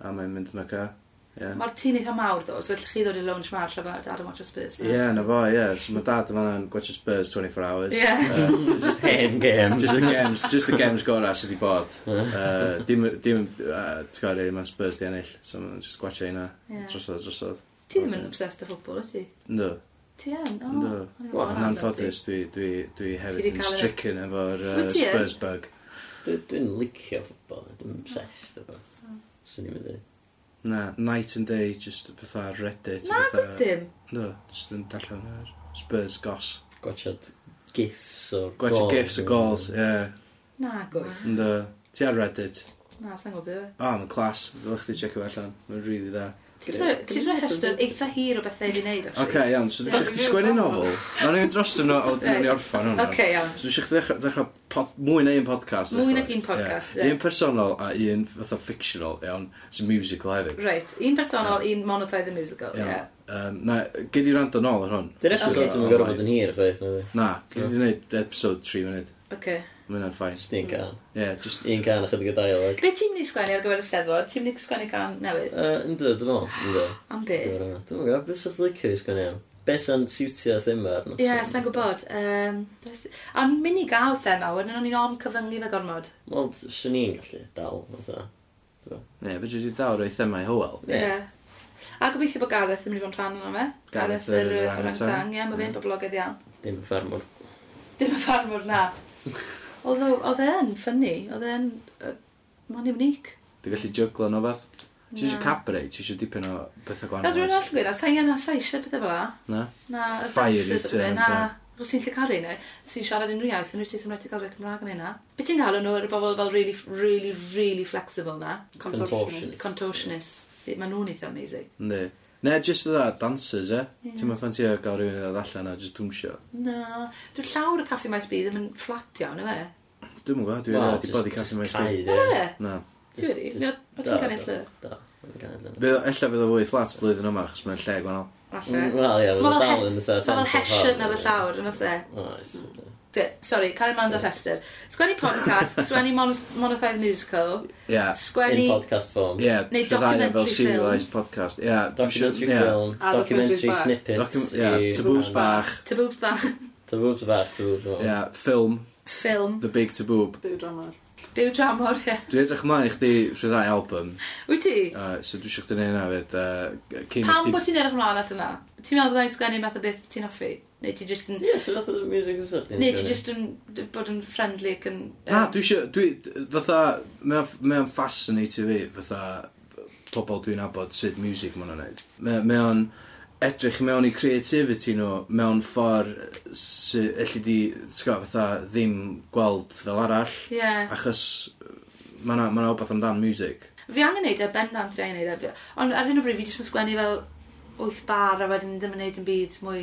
S1: a mae'n mynd yn oca. Ie,
S4: Mae'r tîn eitha mawr ddo, so allwch chi ddod i lounge mawr lle bod dad yn watch o Spurs. na?
S1: Ie, na fo, ie. So mae dad yn fanna'n gwaethe Spurs 24 hours.
S4: Ie.
S1: Uh,
S2: Just hen game.
S1: just the games, just the games gorau sydd wedi bod. Uh, dim, dim, uh, ti'n gwybod, really, mae Spurs di ennill. So mae'n just gwaethe hynna,
S4: Ie.
S1: drosodd, drosodd.
S4: Ti ddim yn obsessed â ffwbol, ydy?
S1: Ynddo.
S4: Ti yn? O,
S1: Ynddo.
S4: o'n i'n
S2: Wel,
S4: meddwl
S1: Yn
S4: amdano
S1: anffodus, dwi, dwi, dwi
S4: Ti
S1: hefyd
S4: 'di
S1: yn
S4: cael y-
S1: stricken efo'r uh,
S4: Wyt ti yn?
S1: Spurs bug.
S2: Dwi- Dwi'n licio ffobl. Dwi'n obsessed efo. Swn i'n mynd i.
S1: Na, night and day, just fatha Reddit.
S4: Na,
S1: fatha-
S4: ti. Ddim.
S1: Ynddo, just yn darllen yr Spurs gos.
S2: Gwachod gifs o gols.
S1: Gwaethe gifs o gols, ie.
S4: Na, gwyt.
S1: Ynddo, ti ar Reddit.
S4: Na, sa'n gwybod beth. e.
S1: O, oh, mae'n clas. Ddylech chi checio fe allan. Mae'n rili dda.
S4: Ti'n rhoi hester eitha hir o bethau i fi wneud,
S1: Oce,
S4: actually.
S1: okay, iawn, so dwi
S3: Ie,
S1: eisiau chdi
S3: dwi'n
S1: sgwennu
S3: gweld
S1: nofel. Na ni'n dros yn o, a wedyn ni'n
S4: Reit.
S1: orffan hwnna.
S4: Oce, iawn.
S1: So dwi eisiau chdi ddechrau- ddechrau pod- mwy na un podcast.
S4: Mwy na
S1: ddechrau.
S4: un podcast,
S1: Ie.
S4: ie.
S1: Un personol a un fatha fictional, iawn, sy'n musical hefyd.
S4: Reit, un personol, un monothai the musical, ie.
S1: Iawn. Um, na, gyd i rand yn ôl ar hwn.
S2: Dwi'n eisiau
S4: Okay.
S2: sort o'n gorfod bod yn hir, chweith. na fi.
S1: Na, gyd i wneud episode 3 munud.
S4: Oce.
S1: Mae hwnna'n ffain.
S2: Just un can.
S1: Ie, just...
S2: Un can a chydig o dialog.
S4: Be ti'n mynd i sgwennu ar gyfer y steddfod? Ti'n mynd i sgwennu can newydd?
S2: Ynddo, dwi'n meddwl. Ynddo.
S4: Am be?
S2: Dwi'n meddwl, beth sy'n licio i sgan iawn? Beth sy'n siwtio thema'r noson?
S4: Ie, yes, sa'n gwybod. Um, a o'n i'n mynd i gael thema, wedyn o'n i'n on cyfyngu fe gormod.
S2: Wel, swn i'n gallu dal, fatha.
S1: Ie, fe dwi wedi dawr o'i themau hywel.
S2: Ie.
S4: A gobeithio bod Gareth yn mynd i fod yn rhan yna fe.
S1: Gareth yr
S4: yr, uh,
S1: orangutan.
S4: orangutang, ie, mae fe'n boblogaidd iawn.
S2: Dim ffermwr
S4: Dim y ffarm o'r na. Although, oedd e'n ffynnu, oedd e'n... Uh, Mae'n unique.
S1: Dwi'n gallu jyglo nhw fath. Ti eisiau
S4: Na.
S1: cabre, ti eisiau dipyn o bethau
S4: Fel
S1: gwahanol.
S4: dwi'n
S1: oes?
S4: all gwir, a sa'i yna sa'i eisiau pethau fel la.
S1: Na?
S4: Na, y
S1: Fire
S4: dancers
S1: eater
S4: ydyn,
S1: and
S4: na.
S1: fire.
S4: Os ti'n llicaru neu, os ti'n siarad unrhyw iaith, yn rwyt ti'n rhaid i gael rhaid Cymraeg yn hynna. Be ti'n galw nhw, yr bobl fel really, really, really flexible na?
S2: Contortionists.
S4: Contortionists. Mae nhw'n eitha amazing.
S1: Yndi. Ne, just yna, dancers, e?
S4: Ie.
S1: Ti'n ma'n ffanti o gael rhywun i ddod allan a just dwmsio.
S4: Na, dwi'n llawr y caffi maes byd ddim yn fflat iawn, yma.
S1: Dwi'n mwyn gwybod, dwi'n
S2: Wel,
S1: rhaid i
S2: jyst-
S1: bod i
S2: jyst
S1: cael sy'n
S2: cau,
S1: mynd.
S2: ie.
S4: Na, fe?
S1: Na.
S4: Ti wedi?
S2: Jyst-
S4: No, o
S2: da,
S4: ti'n cael
S2: do,
S4: llwyr?
S2: do, oedd gan i llwyr.
S1: Fydd- Ella fydd o fwy flat blwyddyn yma, achos mae'n lle gwahanol.
S4: Falle.
S2: Mm, Wel, ie,
S4: Ma'
S2: oedd
S4: fel
S2: dal
S4: he-
S2: yn eitha...
S4: Mae fel hesian ar y llawr, yn ose.
S2: Oes.
S4: Mm. Sorry, cael ei mlaen ar rhestr. Sgwennu podcast, sgwennu monos- monothedd musical,
S1: Ie.
S2: In
S4: sgwennu...
S2: podcast form.
S1: Ie, trydau
S4: Neu
S1: e fel
S4: documentary film.
S1: serialised podcast. Ie.
S2: Documentary
S1: ie.
S2: film,
S3: A
S2: documentary
S3: documentary bach.
S2: snippets.
S1: Docu-
S2: i-
S1: Ie, taboos
S2: and-
S1: bach.
S4: Taboobs bach,
S2: Taboos bach, taboos bach.
S1: Ie, film.
S4: ffilm,
S1: The Big Taboo.
S3: Byw dramor.
S4: byw dramor, ie.
S1: Dwi'n edrych ymlaen i chdi rhyddai album,
S4: Wyt ti?
S1: uh, so dwi eisiau chdi neud hynna fyd. Uh, cyn i
S4: Pam
S1: chdi-
S4: bod ti'n edrych ymlaen at yna? Ti'n meddwl byddai'n sgwennu math o beth ti'n hoffi? Neu ti just yn...
S2: Ie, so fath o'r music yn sych.
S4: Neu ti just yn d- bod yn friendly ac yn...
S1: Na,
S4: yym,
S1: dwi eisiau, dwi, fatha, mae'n fascinate fi, fatha, pobl dwi'n abod sut music ma'n o'n neud. Mae'n edrych mewn i creativity nhw, mewn ffordd sydd, elli di, sgaf, fatha, ddim gweld fel arall,
S4: Ie.
S1: achos mae'n ma 'na wbeth amdan music.
S4: Fi angen neud e, bendant fi angen neud e. Fi- Ond ar hyn o bryd, fi jyst yn sgwennu fel wyth bar a wedyn ddim yn neud yn byd mwy.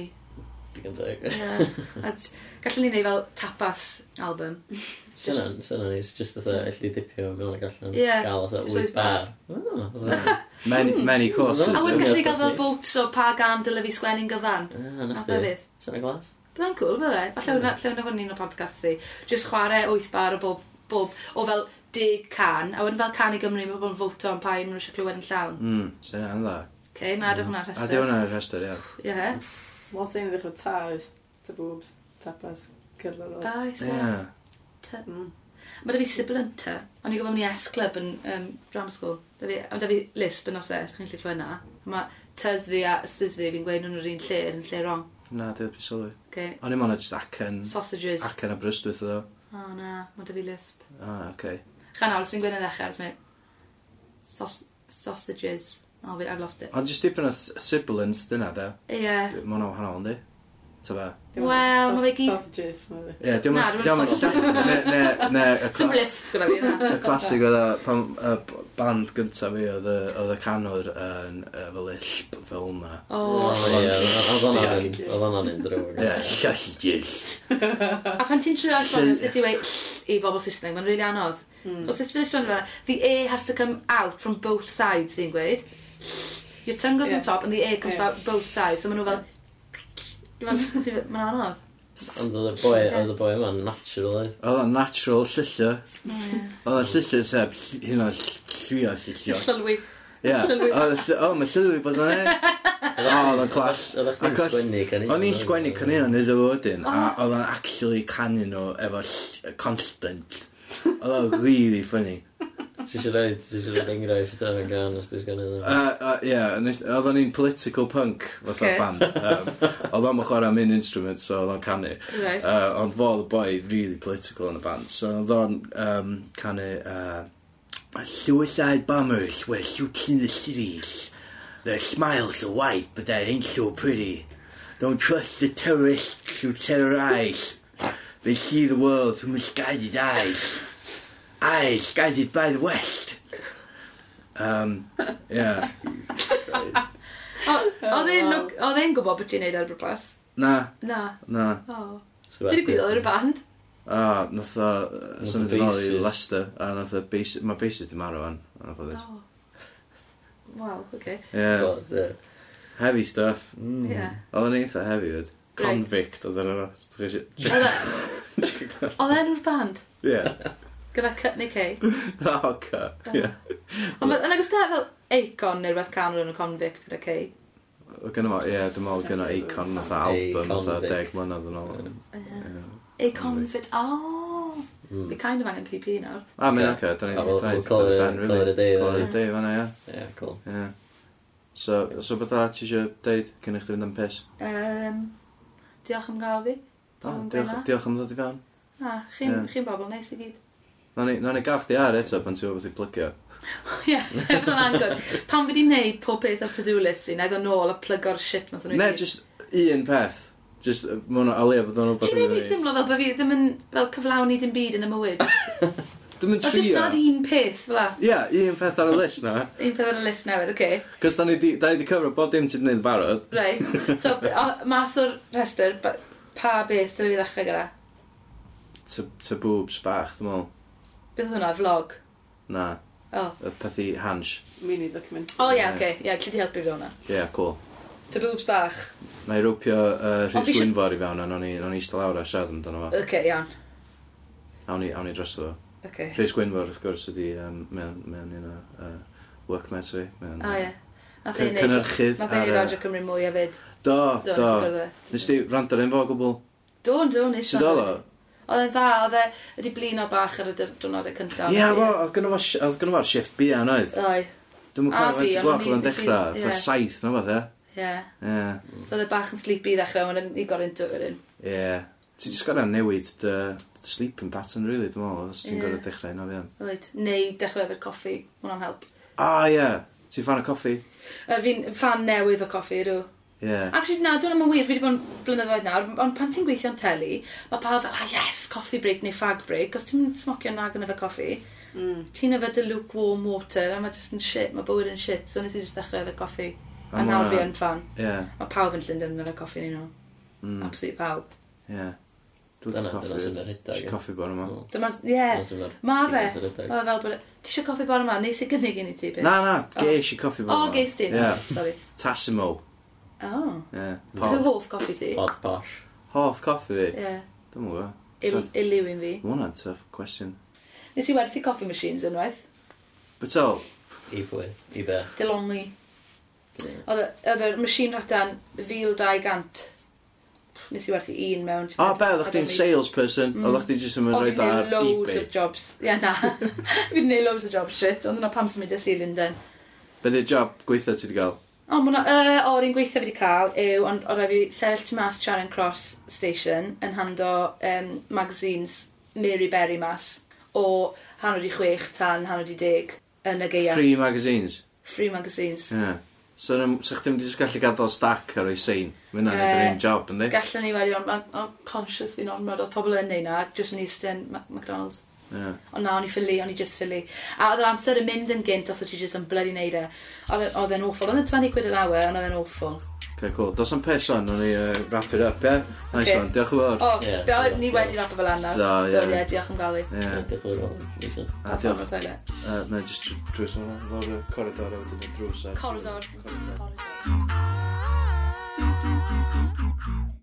S2: Digon teg.
S4: Ie. A t- Gallwn ni neud fel tapas album.
S2: Syna'n syna neis, just oedd allu dipio mewn ac allan.
S4: Ie.
S2: Gael oedd
S4: Jyst
S2: wyth
S4: wyth
S2: bar.
S1: Many,
S4: Hmm.
S1: many courses.
S4: A
S2: Ie,
S4: wedyn gallu ni gael
S2: definitely.
S4: fel votes o pa gan dyle fi sgwennu'n gyfan.
S2: Na
S4: Math o
S2: chdi.
S4: beth.
S2: Syna glas.
S4: Byddai'n cool, byddai. Falle hwnna, lle hwnna fyny yn o podcast si. Just chwarae wyth bar o bob, bob o fel dig can, a wedyn fel can i Gymru, mae bobl yn fwto am pa un maen nhw eisiau clywed yn llawn.
S1: Mm, sy'n yna'n dda.
S4: Okay, na, dy
S1: Mm.
S4: hwnna'r
S1: A di
S4: rhestr.
S1: hwnna'r rhestr, ie.
S4: Ie.
S3: Lot ein ddechrau ta oes. Ta boobs. Tapas. Cyrlwyr o.
S4: Oes,
S1: Ie.
S4: ie.
S3: Mm.
S4: Mae da fi sibilant te. O'n i gofyn i S Club yn um, grammar school. Da fi, ond da fi lisp yn osau, chi'n gallu clywed na. Mae tys fi a sys fi fi'n gweud nhw'n yr un lle, yn lle wrong.
S1: Na, dwi'n byd sylwi.
S4: Okay.
S1: O'n i'n mwyn just acen,
S4: Sausages.
S1: acen a brystwyth o ddo.
S4: O oh, na, mae da fi lisp.
S1: Ah, oce.
S4: Chan awr, os fi'n gweud yn ddechrau, os mi... Saus- Sausages. Oh, fi, I've lost it.
S1: Ond jyst dipyn o s- sibilance dyna, da.
S4: Ie. Yeah.
S1: Mae hwnna'n wahanol, yndi? Ta ba?
S4: Wel, ma' fe gyd-
S3: gyd...
S1: Ie, diolch
S4: Na,
S1: yn
S4: dwi'n
S1: llawn. Ne, ne, ne, y clas-
S4: Dim blith gyda fi yna.
S1: y clasig oedd y pan y b- band gyntaf fi oedd y- oedd y canwr yn yy, fel y llp fel yna.
S4: O,
S2: Ie, Oedd hwnna'n mynd- oedd hwnna'n mynd drwg.
S1: Ie, llall gill.
S4: a pan ti'n trio esbonio sut i wei i bobl Saesneg, mae'n rili anodd.
S3: Hmm.
S4: Os ydych chi'n esbonio fel, the air has to come out from both sides, fi'n gweud. Your tongue goes on
S3: Ie.
S4: top and the air comes
S3: Ie.
S4: out both sides. So maen nhw fel... Dwi'n meddwl, mae'n anodd.
S2: Ond oedd y boi, oedd y boi yma'n natural oedd. e?
S1: Oedd o'n natural llillio.
S3: Hmm.
S1: Oedd o'n llillio lle ll- hyn o'n llwio llillio.
S4: Sylwi.
S1: Ie, oedd y ll- o, mae llwy bod o'n ei. O, oedd o'n clash.
S2: Oedd
S1: Ac
S2: chdi'n
S1: oedd-
S2: sgwennu caneuon.
S1: O'n i'n sgwennu cynnig o'n iddo fo wedyn, a
S4: O.
S1: oedd o'n actually canu nhw efo ll- constant. Oedd o'n really funny.
S2: Ti eisiau rhaid, ti eisiau rhaid enghraifft ar y gan os ti'n sgwennu
S1: Yy,
S2: ddim.
S1: yy, Ie, nes- oedd o'n i'n political punk fatha
S4: Ocê.
S1: band. Yym, Oedd o'n chwarae main instrument, so oedd o'n canu.
S4: Right.
S1: Uh, ond fo oedd y boi really political yn y band. So oedd o'n um, canu... Uh, Mae suicide bombers were shooting the cities. Their smiles are white, but they ain't so pretty. Don't trust the terrorists who terrorize. They see the world through misguided eyes. Eyes guided by the West. Um, yeah.
S4: O, Oedd e'n
S3: Oh.
S4: look- oedd e'n gwybod beth ti'n neud ar y blas?
S1: Na,
S4: Na.
S1: na.
S4: O. Dwi'n gwybod oedd yr y band.
S1: A, nath o
S2: Nath
S1: symud
S2: y
S1: yn ôl i
S2: bassist.
S1: Leicester, a nath o basis, mae basis di marw an, a nath o ddys.
S4: O. Waw, oce.
S1: Yeah, heavy stuff.
S4: Ie.
S1: Oedd yn eitha heavy fyd.
S4: Reit.
S1: Convict oedd yn efo. os dach chi isio-
S4: Oedd e- Oedd e'n o'r band?
S1: Ie.
S4: Gyda Cutney Kay.
S1: O, ca. Ie.
S4: Ond ma- yn agos da fel Acon neu rhywbeth can o'n y convict gyda Kay.
S1: Oedd gynno fo, ie, dwi'n meddwl gynno Acon nath o album nath o deg mlynedd yn ôl. Ie. Hmm.
S4: A convict, o!
S2: Mm.
S4: Fi kind of angen PP nawr.
S1: A, mae'n oce, da ni
S2: A, we'll-
S1: da ni-
S2: we'll call
S1: da ni
S2: it-
S1: ben, really.
S2: call it a day,
S1: Call it
S2: then.
S1: a day, fan'na, ie.
S2: Ie, cool.
S1: Ie. So, so beth arall ti eisiau deud cyn i chdi fynd am piss?
S4: Um, diolch am gael fi.
S1: Da,
S4: Pam yn
S1: diolch,
S4: gwneud
S1: diolch am ddod i fewn.
S4: Na, chi'n
S1: Ie.
S4: chi'n bobl, neis i gyd.
S1: Na ni, na ni gach di ar eto pan ti'n gwybod i plygio.
S4: Ie, efo'n angor. Pan fi di wneud pob peth ar to-do list fi, na iddo nôl a plygo'r shit mas o'n
S1: Ne, just un peth. Just, uh, ma' hwnna, a leia bod o'n
S4: Ti'n
S1: wybod
S4: ei ddimlo fel bod fi ddim yn fel cyflawni dim byd yn y mywyd?
S1: Dwi'n mynd
S4: O, just
S1: trio.
S4: nad un peth, fel 'a.
S1: Ie, un peth ar y list na.
S4: Un peth ar y list newydd, oce. Okay.
S1: Cos da ni di, da ni di cyfro bob dim ti'n gwneud barod.
S4: Right. So, o, mas o'r rhestr, ba- pa beth dyle fi ddechrau gyda?
S1: Ty ty boobs bach, dwi'n meddwl.
S4: Beth oedd hwnna, vlog?
S1: Na,
S4: O,
S1: y peth i hans.
S3: Mini document.
S4: o ie, oce. Ie, lle di helpu fi hwnna?
S1: Ie, yeah, cool.
S4: Dy boobs bach.
S1: Na i rwpio uh,
S4: Ond fi
S1: Rhys
S4: isio-
S1: Gwynfor i fewn, a o'n i o'n i eistedd lawr a siarad amdano fo.
S4: Oce, okay, iawn.
S1: Awn ni, awn ni dros fo.
S4: Oce. Okay.
S1: Rhys Gwynfor, wrth gwrs, ydi um, mewn, mewn un o uh, workmates fi. Mewn,
S4: O ie. Nath
S1: Cyn-
S4: ei wneud...
S1: Cynhyrchydd
S4: Nath ei
S1: ar
S4: wneud
S1: y...
S4: Radio Cymru mwy a fyd.
S1: Do, do.
S4: Do, ti'n gwrdd e?
S1: Nes di rand ar un fo gwbl?
S4: Do, do, nes
S1: Sut oedd o?
S4: Oedd e'n dda, oedd e wedi blino bach ar y dy- diwrnodau cyntaf.
S1: Ie, fo, oedd gynnu fo sh- oedd gynno fo'r shift bia yn oedd.
S4: Oedd,
S1: Dwi'n
S4: A
S1: mwyn
S4: fi,
S1: cofio faint i gloch
S4: ond o'n i-
S1: oedd yn
S4: nes i-
S1: dechrau, oedd
S4: ie.
S1: saith, no fath e?
S4: ie.
S1: Ie,
S4: So oedd e bach yn sleepy i ddechrau, ond ni gorau'n dwyr yn.
S1: ie. Ti'n just gorau newid dy dy sleeping pattern, really, dwi'n meddwl, os ti'n
S4: Ie.
S1: gorau dechrau, no fi am.
S4: Oed. Neu dechrau efo'r coffi, hwnna'n help.
S1: O, ie, ti'n fan o coffi?
S4: Yy, Fi'n fan newydd o coffi, rhyw.
S1: Ie.
S4: Actually, na, dwi'n am yn wir, fi wedi bod yn blynyddoedd nawr, ond pan ti'n gweithio'n teli, mae pawb fel, ah yes, coffee break neu fag break, os ti'n smocio nag yn efo coffi,
S3: Mm.
S4: ti'n efo dy lukewarm water, a mae just yn shit, mae bywyd yn shit, so nes i just dechrau efo coffi.
S1: A
S4: A
S1: ma'
S4: nawr fi
S1: hwnna-
S4: yn fan.
S1: Ie,
S4: Mae pawb yn Llundain yn efo coffi ni nhw.
S1: mm,
S4: Absolutely pawb.
S1: ie. Dwi'n
S2: Dyna-
S1: coffi.
S2: dyna sy'n yr hydog,
S1: Dwi'n
S2: ie.
S1: coffi bora yma.
S2: Mm.
S4: Dyma, ie,
S2: Dyna sy'n yr-
S4: ma fe.
S2: dyna sy'n yr
S4: Mae fe fel bod... e- Ti eisiau coffi bar yma? Neis i gynnig i ni ti, beth?
S1: Na, na, geis i coffi bora
S4: O,
S1: yma.
S4: geis ti?
S1: Ie,
S4: Sorry.
S1: Tassimo.
S4: O.
S1: Ie,
S4: Pwy
S1: pod.
S4: hoff coffi ti?
S2: Pod posh.
S1: Hoff coffi fi.
S4: Ie.
S1: Dwi'n mwyn
S4: Il-
S1: gwybod.
S4: Iliw un fi.
S1: Mae hwnna'n tough question.
S4: Nes i werthu coffee machines unwaith.
S1: But all,
S2: I pwy? I be?
S4: Dilongli. Oedd y- oedd yr machine ratan 1200. Nes i werthu un mewn.
S1: O, be, oeddech chdi'n salesperson? Mm. Oeddech chdi jyst yn mynd roi da ar
S4: loads o
S1: eBay?
S4: jobs. Ie, na. Fi wedi neud loads o jobs shit, ond yna pam sy'n mynd i sy'n Linden.
S1: Be di'r job gweithio ti wedi cael?
S4: O, mwna, yy, o'r un gweithio fi wedi cael yw, ond o'r rhaid fi sefyll tu mas Charing Cross Station yn hando um, magazines Mary Berry mas o hanner i chwech tan hanner i deg yn y geia. Free,
S1: Free magazines?
S4: magazines.
S1: Ie. Yeah. So, na- sa chdi'n mynd i jyst gallu gadael stack ar o'i sein? Mae hynna'n
S4: Ie.
S1: edrych yn job, yndi?
S4: Gallen ni wedi, ond mae'n conscious fi'n ormod, oedd pobl yn neud na, jyst mynd i ystyn McDonald's.
S1: Ie.
S4: Ond na, o'n i ffili, o'n i just ffili. A oedd yr amser yn mynd yn gynt os oedd ti just yn bloody neud e. Oedd e- Oedd e'n awful. Oedd e'n 20 quid yr awyr, ond oedd e'n awful.
S1: Okay, cool. Dos am pes o'n, o'n i uh, wrap it up, ie? Nice
S4: Ocê.
S1: one, diolch yn fawr.
S4: O,
S2: Ie,
S4: be oedd ni
S2: diolch.
S4: wedi rapo fel anna.
S1: Do, ie.
S4: Do, ie, diolch yn gael i.
S1: Ie.
S2: Edrych o'r ôl. Nice.
S1: A diolch.
S4: toilet.
S1: Yy, Na, jyst drws o'n lawr y coridor a wedyn y drws ar...
S4: Corridor. Corridor.